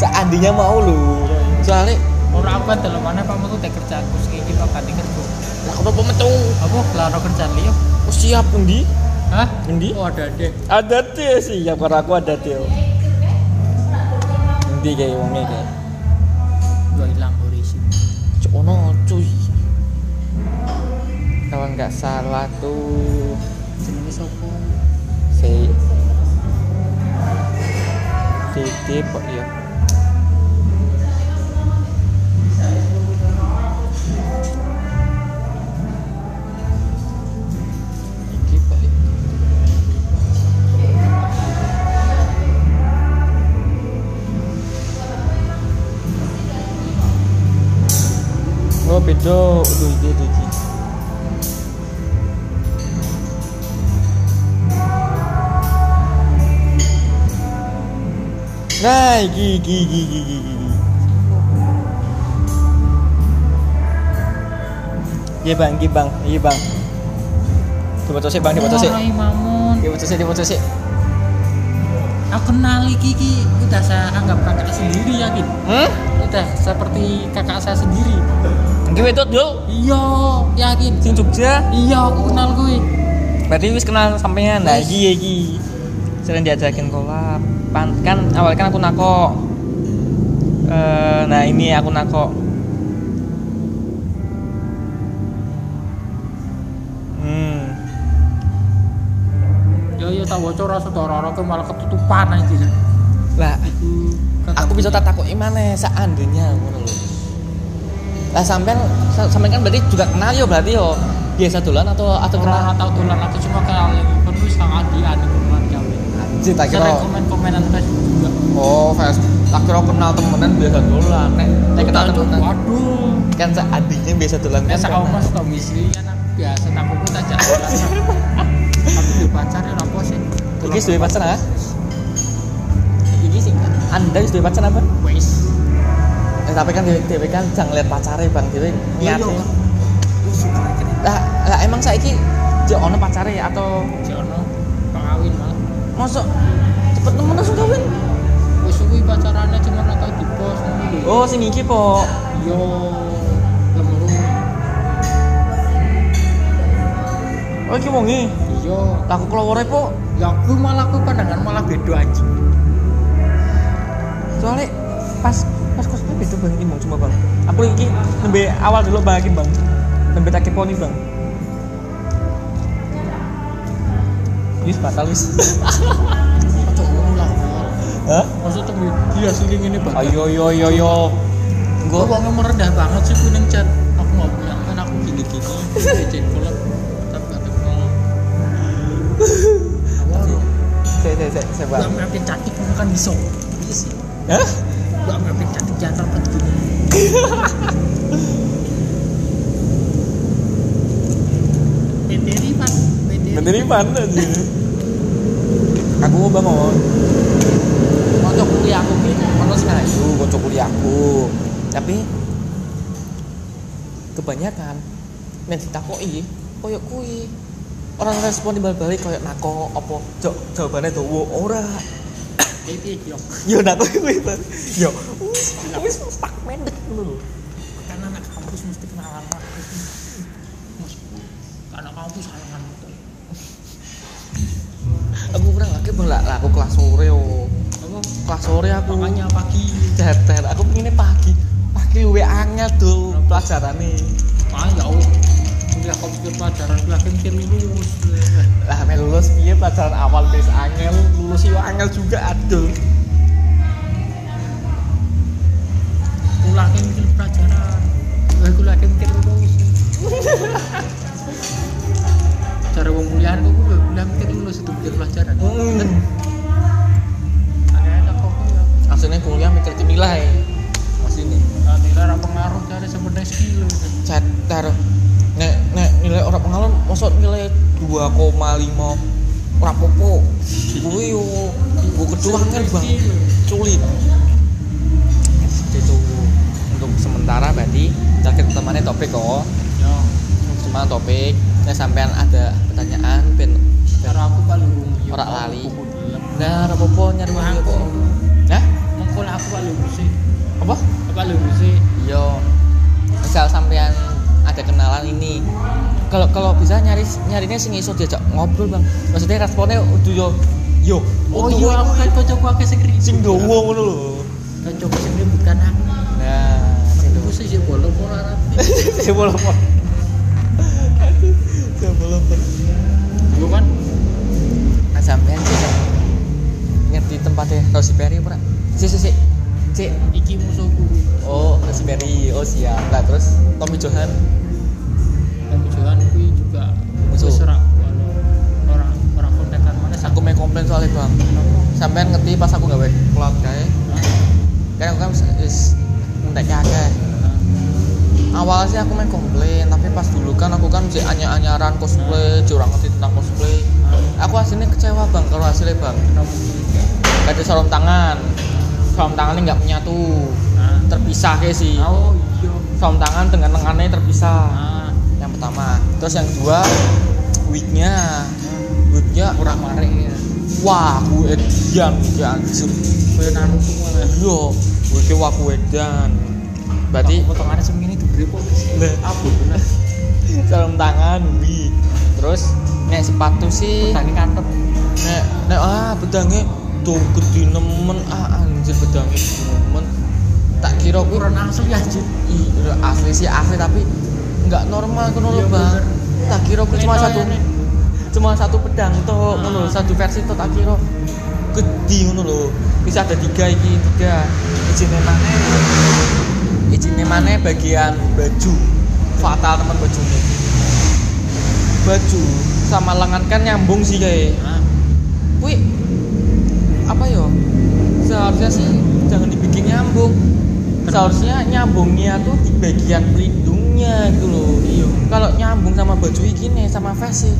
Speaker 1: seandainya mau lu soalnya
Speaker 2: Orang aku kan dalam mana pak mau tak kerja aku sih gitu pak kan kerja.
Speaker 1: lah apa metu
Speaker 2: Apa kelaro kerjaan liyo?
Speaker 1: Oh, siap endi?
Speaker 2: ya? Hah?
Speaker 1: Endi?
Speaker 2: Oh ada deh.
Speaker 1: Ada teh siap karena aku ada teh. Endi kayak wongnya kayak.
Speaker 2: Gua hilang horizon.
Speaker 1: Cuk ono cuy. Kalau nggak salah tuh
Speaker 2: Jenenge sopo?
Speaker 1: si Dede kok ya.
Speaker 2: Iki pak.
Speaker 1: Oh beda udah ide iki. Nah, iki iki iki iki iki. iki. Iya bang, iya bang, iya bang. Dibaca sih bang, dibaca sih.
Speaker 2: Rai Mamun.
Speaker 1: Dibaca sih, dibaca sih.
Speaker 2: Aku kenal iki iki udah saya anggap kakak sendiri yakin.
Speaker 1: Hmm?
Speaker 2: Udah seperti kakak saya sendiri.
Speaker 1: Iki wedok dulu.
Speaker 2: Iya yakin.
Speaker 1: Sing Jogja.
Speaker 2: Iya aku kenal gue.
Speaker 1: Berarti wis kenal sampean. Nah, iki iki. Sering diajakin kolab. Pan kan awalnya kan aku nako. Eh, nah ini aku nako. Hmm.
Speaker 2: Yo yo Ya, tak bocor rasa dororo ke malah ketutupan aja.
Speaker 1: Lah,
Speaker 2: Aku
Speaker 1: aku bisa tak takoki maneh seandainya ngono lho. Lah sampean sa- sampean kan berarti juga kenal yo berarti yo. Biasa dolan atau atau kenal?
Speaker 2: orang atau tulan aku cuma kenal lagi pun wis sang adi adi keman kami.
Speaker 1: Anjir, tak
Speaker 2: Sering
Speaker 1: kira.
Speaker 2: komen komenan Facebook juga.
Speaker 1: Oh, Facebook. Tak kira kenal temenan biasa dolan. Nek nek kenal
Speaker 2: Tuh,
Speaker 1: temenan.
Speaker 2: Waduh.
Speaker 1: kan seadinya biasa dolan
Speaker 2: Nek
Speaker 1: kan
Speaker 2: sak
Speaker 1: karena-
Speaker 2: omas tau misi kan aku biasa tak kumpul tak jalan. Aku di pacar ya apa sih?
Speaker 1: Iki sudah pacar ah? Iki sih Anda sudah pacar apa?
Speaker 2: Wes.
Speaker 1: Eh, tapi kan dhewe dhewe kan jangan lihat pacare Bang dhewe niate.
Speaker 2: Iya,
Speaker 1: Lah lah emang saiki jek ono pacare atau
Speaker 2: Jono pengawin malah.
Speaker 1: mosok cepet nemen langsung kawin?
Speaker 2: Wes kuwi pacarannya cuma nak tau di pos ngono lho.
Speaker 1: Oh, sing iki po.
Speaker 2: Yo lemuru.
Speaker 1: Oh, iki wonge.
Speaker 2: Yo
Speaker 1: Lah aku kelowore po.
Speaker 2: Iya. ya aku malah aku pandangan malah beda anjing.
Speaker 1: Soale pas pas kosku beda Bang iki Bang cuma Bang. Aku iki nembe awal dulu Bang iki Bang. Nembe tak keponi Bang. Wis batal wis.
Speaker 2: Cocok ngono lah.
Speaker 1: Hah?
Speaker 2: Maksudnya tuh dia sih ini banget.
Speaker 1: Ayo yo yo yo. Gua
Speaker 2: Gue uangnya merendah banget sih kuning chat. Aku nggak punya kan aku gini gini. Chat pula tapi gak kenal.
Speaker 1: saya saya saya saya
Speaker 2: Gue
Speaker 1: bang.
Speaker 2: ngerti cantik bukan bisa. Iya sih.
Speaker 1: Hah?
Speaker 2: Gue ngerti cantik jangan sampai gini. Beteri pan. Beteri.
Speaker 1: Bener mana sih? Aku mau bang oh.
Speaker 2: Mau kuliah aku gini. Mau sekali.
Speaker 1: Aduh, kocok kuliah aku. Tapi kebanyakan men ditakoi koyo kui orang respon dibalik-balik koyo nako opo jok jawabannya tuh wo ora
Speaker 2: Beteri yo.
Speaker 1: yo nako kui Bang. yo wis wis stuck mendek lu
Speaker 2: Karena anak kampus mesti kenalan kampus. Mas, Anak kampus halangan betul.
Speaker 1: aku kurang lagi bang lah lah, aku kelas sore oh
Speaker 2: Apa?
Speaker 1: kelas sore aku
Speaker 2: Makanya pagi
Speaker 1: Dater, aku pengennya pagi. Pagi luwe angel tuh pelajaran nih.
Speaker 2: Ah ya Allah, kuliah komputer pelajaran kuliah kimia lulus.
Speaker 1: Lah me lulus piye pelajaran awal wis angel, lulus yo angel juga aduh.
Speaker 2: Kuliah kimia pelajaran. Eh kuliah kimia lulus. Cara wong kuliah
Speaker 1: Hmm. eh. 2,5 ora popo. Kuwi yo ibu kedua kan Bang. Sulit. Itu Gitu. untuk sementara berarti target utamanya topik oh. kok.
Speaker 2: yo
Speaker 1: Cuma topik. Nah, sampean ada pertanyaan ben
Speaker 2: cara aku paling yo
Speaker 1: Ora lali.
Speaker 2: aku gelem.
Speaker 1: Nah, ora popo nyari
Speaker 2: Wah,
Speaker 1: video
Speaker 2: kok.
Speaker 1: kok. Hah?
Speaker 2: mengko lah aku paling sih
Speaker 1: Apa?
Speaker 2: apa lu sih
Speaker 1: Yo, misal sampean ada kenalan ini, kalau kalau bisa nyari nyarinya sing iso diajak ngobrol bang. Maksudnya responnya udah yo, yo.
Speaker 2: oh
Speaker 1: utuh
Speaker 2: iya
Speaker 1: kowe
Speaker 2: aku kan kocokku akeh sing ri
Speaker 1: sing dowo ngono lho.
Speaker 2: kocokku Kan sing ri bukan aku
Speaker 1: Nah, sing
Speaker 2: aku sih sih bolong pola rapi
Speaker 1: dowo. Sebelum
Speaker 2: gue kan
Speaker 1: Nah, sampean bisa ngerti tempatnya Rosi Peri pernah? Si si si. Si.
Speaker 2: iki musuhku
Speaker 1: Oh, Rosi Peri. Oh siap. Lah terus Tommy Johan.
Speaker 2: dan tujuan kui juga
Speaker 1: Musuh.
Speaker 2: wis ora orang orang kontekan mana
Speaker 1: Aku mau komplain soalnya bang. Sampean ngerti pas aku gawe cloud kayak kan aku kan is ngetek akeh awalnya sih aku main komplain tapi pas dulu kan aku kan masih anyar-anyaran cosplay curang ngerti tentang cosplay aku hasilnya kecewa bang kalau hasilnya bang gak ada sarung tangan sarung tangannya nggak menyatu terpisah kayak sih
Speaker 2: oh iya
Speaker 1: sarung tangan dengan lengannya terpisah
Speaker 2: ah
Speaker 1: yang pertama terus yang kedua wignya wignya
Speaker 2: kurang mare ya
Speaker 1: wah aku edian wignya anjir
Speaker 2: koyo Naruto malah
Speaker 1: yo wignya wah aku edan berarti
Speaker 2: Aku potongannya seminggu itu gede kok
Speaker 1: Nah.
Speaker 2: abu bener
Speaker 1: sarung tangan wi terus nek sepatu sih
Speaker 2: tadi kantep
Speaker 1: nek nek ah bedangnya tuh gede nemen ah anjir bedangnya gede nemen tak kira
Speaker 2: aku
Speaker 1: kuwi
Speaker 2: orang asli anjir
Speaker 1: ih, asli sih asli tapi nggak normal kono lho
Speaker 2: Iya,
Speaker 1: bang
Speaker 2: bener.
Speaker 1: tak kira kuwi cuma
Speaker 2: Letoy
Speaker 1: satu
Speaker 2: ane.
Speaker 1: cuma satu pedang toh
Speaker 2: Ah.
Speaker 1: ngono lho, satu versi toh tak kira gede ngono lho bisa ada tiga iki tiga izinnya mana izinnya mana bagian baju fatal teman baju ini baju sama lengan kan nyambung sih kayak
Speaker 2: ah
Speaker 1: wih apa yo seharusnya sih jangan dibikin nyambung seharusnya nyambungnya tuh di bagian pelindungnya gitu loh
Speaker 2: Iya.
Speaker 1: kalau nyambung sama baju ini sama vest sih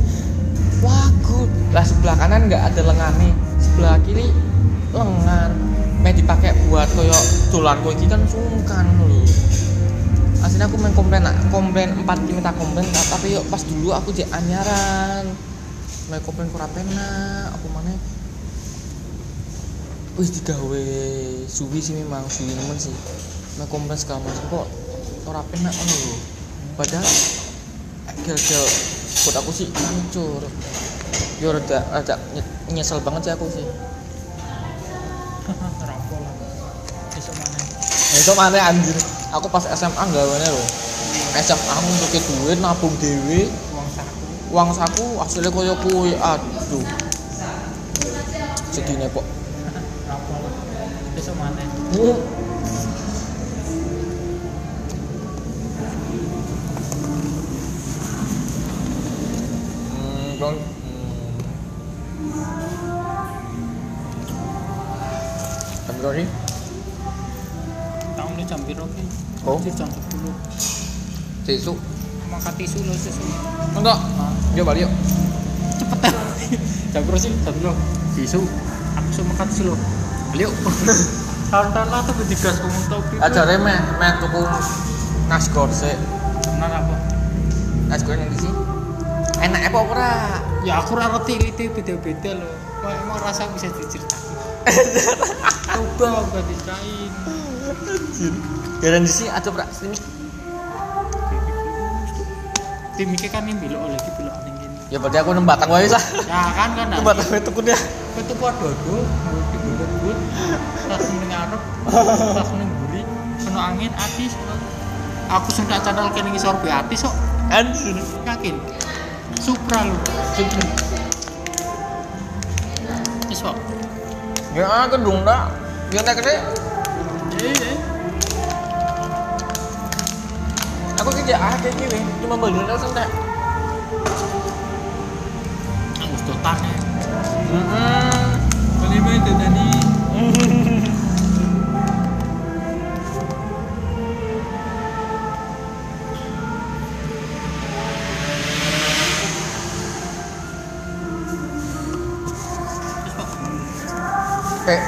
Speaker 1: wah good lah sebelah kanan nggak ada lengannya sebelah kiri lengan meh dipakai buat koyo dolan koyo iki kan sungkan loh aslinya aku main komplain komplain empat kini tak komplain tak- tapi yuk pas dulu aku jadi anyaran main komplain kurang pena aku mana wis digawe suwi sih memang suwi nemen sih main komplain segala macam kok ora pena ono lho padahal eh, gel-gel buat aku sih hancur yo rada rada nye- nyesel banget sih aku sih
Speaker 2: rampol lah besok mana
Speaker 1: Nah, itu mana anjir aku pas SMA gawane lho SMA aku untuk duit nabung dewe
Speaker 2: uang saku
Speaker 1: uang saku hasilnya koyo kuwi aduh sedihnya kok
Speaker 2: rampol lah besok mana
Speaker 1: Hmm, Hmm, dong. Hmm. Tapi kok ini?
Speaker 2: tahun ini jam biru ki
Speaker 1: Oh.
Speaker 2: Anjir, jam sepuluh
Speaker 1: Sesuk.
Speaker 2: makan tisu lo tisu
Speaker 1: Enggak. Dia balik yuk.
Speaker 2: cepet ya jam biru sih jam biru tisu aku suka makan tisu lo beliau tahun-tahun lah tuh berdigas ngomong tau gitu
Speaker 1: Acaranya meh meh tuku nasi gorsek.
Speaker 2: benar apa
Speaker 1: Nasi goreng yang di sini. Enak apa ora?
Speaker 2: ya aku ora ngerti itu beda-beda lo Wah, emang rasa bisa diceritakan coba aku dikain
Speaker 1: Jalan Ya, di sini ada prak sini.
Speaker 2: tim iki kan yang belok lagi belok ning kene
Speaker 1: Ya berarti aku nembak tang wae lah.
Speaker 2: nah kan kan nah
Speaker 1: Nembak tang wae tuku dia.
Speaker 2: itu kuat dodo dibubut tas ning ngarep tas ning buri kena angin ati aku sudah channel kene ngisor be ati sok
Speaker 1: Anjir.
Speaker 2: yakin supra lo
Speaker 1: Sini.
Speaker 2: wis kok
Speaker 1: Ya aku dong dah. Ya tak kene Iya,
Speaker 2: eh
Speaker 1: aku kerja aja gini cuma beli nasi tak.
Speaker 2: aku dotane
Speaker 1: Heeh.
Speaker 2: kene main dotane kayak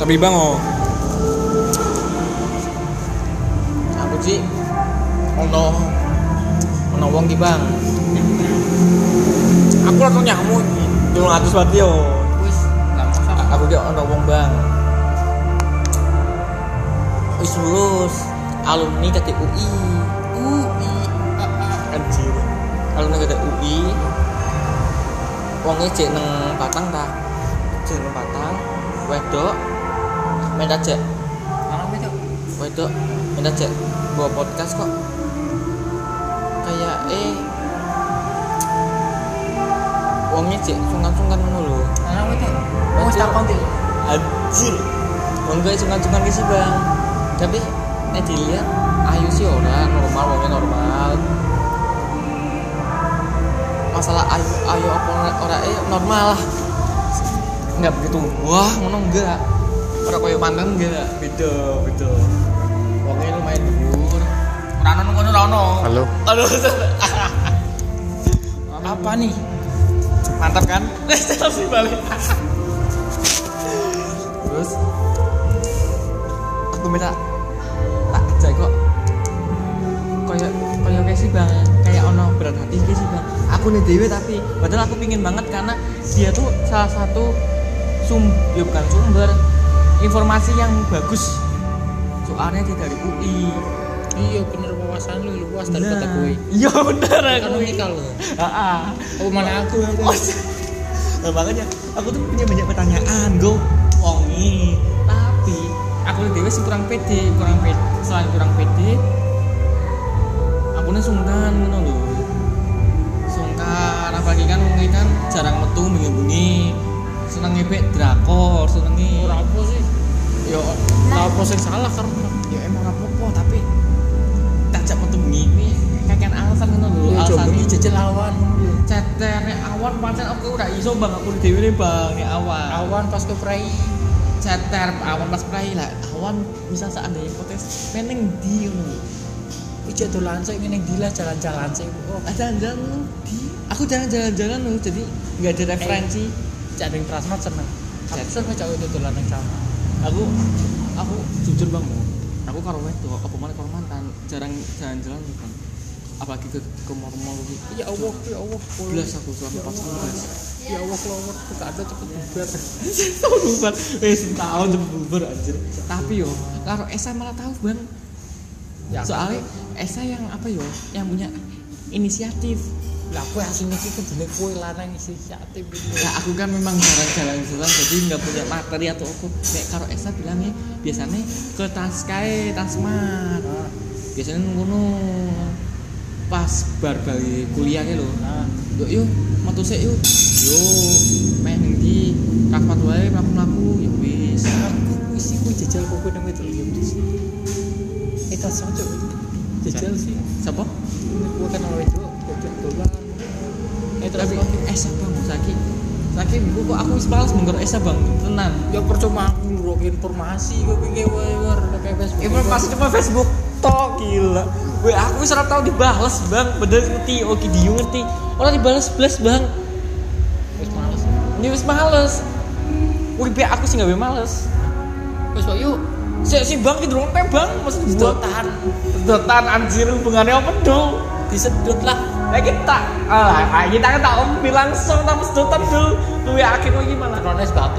Speaker 1: tapi bang oh aku sih ono ono wong ki bang aku ono nyakmu dulu ngatus banget yo
Speaker 3: wis nggak usah
Speaker 1: A- aku ki ono wong bang wis lulus alumni kate UI UI anjir alumni kate UI wongnya cek neng patang ta cek neng patang wedok minta cek
Speaker 3: malam itu
Speaker 1: wedok minta cek bawa podcast kok kayak eh wongnya cek sungkan-sungkan ngono lho
Speaker 3: malam itu oh wis
Speaker 1: Anjir.
Speaker 3: takon tuh
Speaker 1: anjir wong gue sungkan-sungkan sih bang tapi nek dilihat ayu sih ora normal wongnya normal masalah ayu ayu apa ora- ora eh normal lah nggak begitu wah ngono enggak ora koyo mantan enggak beda beda wongnya lumayan dhuwur ora ono ngono ora ono
Speaker 2: halo
Speaker 1: aduh apa nih mantap kan terus balik terus aku minta tak aja kok kayak kayak kayak sih bang kayak ono berat hati kayak sih bang aku nih dewe tapi padahal aku pingin banget karena dia tuh salah satu sum ya bukan sumber informasi yang bagus soalnya dia dari UI
Speaker 2: iya bener wawasan lu luas daripada
Speaker 1: Nah.
Speaker 2: gue
Speaker 1: iya bener aku
Speaker 2: kan nikah lu
Speaker 1: Ah,
Speaker 2: oh mana aku yang
Speaker 1: ah. Nah, makanya aku tuh punya banyak pertanyaan, go wongi. Tapi aku lihat dewe sih kurang pede, kurang pede. Selain kurang pede, aku nih sungkan ngono lho. Sungkan apalagi kan wongi kan jarang metu bengi-bengi. Seneng ngepek drakor, senengi
Speaker 2: ora apa sih
Speaker 1: yo
Speaker 2: ora apa sih salah karena
Speaker 1: yo Ya emang apa-apa tapi tajak metu bengi kakean alasan ngono lho, alasan
Speaker 2: alasan jajal awan
Speaker 1: ceter nek awan pancen aku ora iso bang aku dhewe ne bang nek awan
Speaker 2: awan pas ke prei
Speaker 1: ceter awan pas play lah awan bisa seandainya potensi meneng di ngono.
Speaker 2: Ijek dolan sik ngene ndi lah jalan-jalan sik. Oh,
Speaker 1: Ah, jalan-jalan lu di aku jarang jalan-jalan lu jadi nggak
Speaker 2: Eh.
Speaker 1: ada referensi
Speaker 2: cak ning Prasmat seneng. Aku
Speaker 1: Cak.
Speaker 2: seneng cak itu dolan ning sama.
Speaker 1: aku aku jujur bang Bu. aku karo wedok apa mana karo mantan jarang jalan-jalan lu, bang apalagi ke ke mall-mall gitu
Speaker 2: Ya Allah, ya Allah. kalau-
Speaker 1: belas aku selama pas belas
Speaker 2: Ya Allah, ya Allah. Gak ada cepet bubar.
Speaker 1: tahun bubar eh setahun cepet bubar anjir tapi yo karo Esa malah tahu bang
Speaker 2: Ya,
Speaker 1: soalnya Esa yang apa yo yang punya inisiatif
Speaker 2: lah kowe asline iki kudune kowe lanang isi inisiatif iki.
Speaker 1: ya aku kan memang jarang jalan jalan jadi nggak punya materi atau aku nek karo Esa bilangnya biasanya ke Taskai Tasmat
Speaker 2: Nah,
Speaker 1: biasanya ngono pas bar bagi kuliahnya loh
Speaker 2: Nah,
Speaker 1: yuk yuk metu sik yuk yuk main ning di Tasmat wae mlaku-mlaku ya wis
Speaker 2: aku isi kowe jajal kowe nang ya itu lho di sini. Itu sojo. Eh, Jajal sih.
Speaker 1: sapa
Speaker 2: Kowe kan oleh itu goblok dolan. Eh terus
Speaker 1: tapi
Speaker 2: kok-
Speaker 1: Esa bang saiki saiki minggu kok aku wis males mengger Esa bang tenan
Speaker 2: ya percuma aku ngeluarin informasi kowe iki wae wae kayak Facebook.
Speaker 1: informasi cuma Facebook tok gila gue aku wis ora tau dibales bang bener ngerti oke dia ngerti orang dibales belas bang
Speaker 2: Wis males.
Speaker 1: ini wis males Wih, be aku sih gak be males
Speaker 2: Wis kok yuk.
Speaker 1: si, si bang di dorong teh bang maksud
Speaker 2: Sedotan.
Speaker 1: sedotan anjir hubungannya apa dong disedot lah nah kita alah ah, kita kan tak ambil langsung tanpa sedotan dulu gue akhir gue gimana
Speaker 2: Rones batu.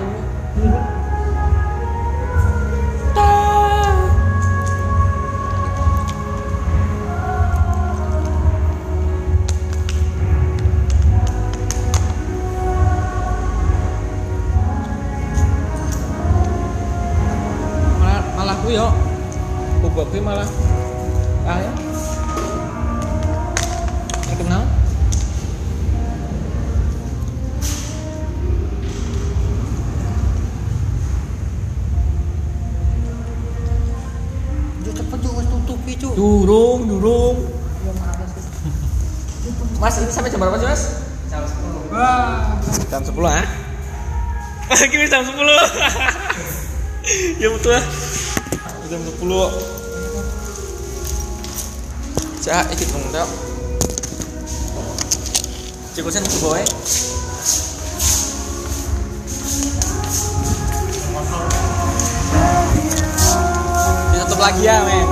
Speaker 1: malah malah aku yo boboknya malah ah ya terkenal
Speaker 2: Yo cepet yo wis tutupi cuk.
Speaker 1: durung durung
Speaker 2: Yo males wis.
Speaker 1: mas ini sampai jam berapa sih mas jam sepuluh
Speaker 3: Wah,
Speaker 1: jam 10 ah lagi wis jam 10 ya betul ah jam 10 kok cak iki dong tak Cik Husin ke bawah ya. Ditutup lagi ya men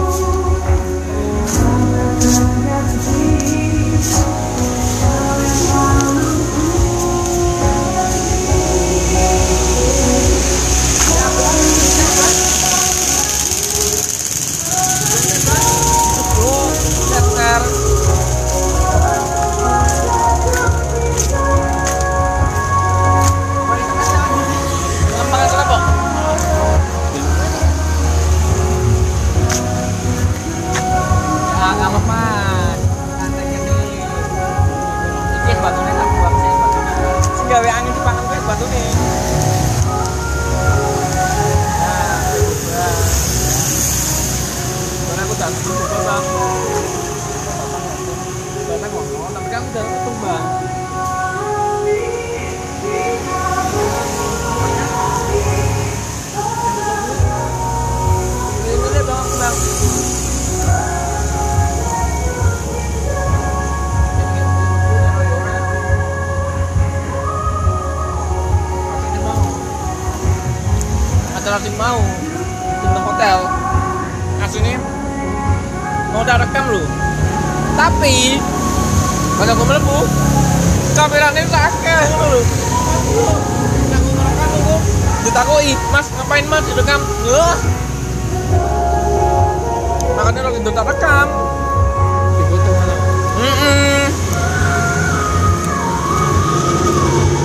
Speaker 1: Cetar. Lempangan sana, Pok. Ya, nggak lepas. Santai aja. Iki batune tak buang sih, batune. Sing gawe angin dipangan kuwi batune. Nah, buang. Karena aku tak cukup bang. Karena ngomong, tapi kan aku udah tutup bang. Ini deh bang, aku, bang. Ini mau. Acara tim mau bintang hotel aslinya mau tak rekam lu tapi kalau aku melebu kameranya tak akeh ya, ngono lho ditakoi mas ngapain mas direkam Loh. makanya lagi gitu tak rekam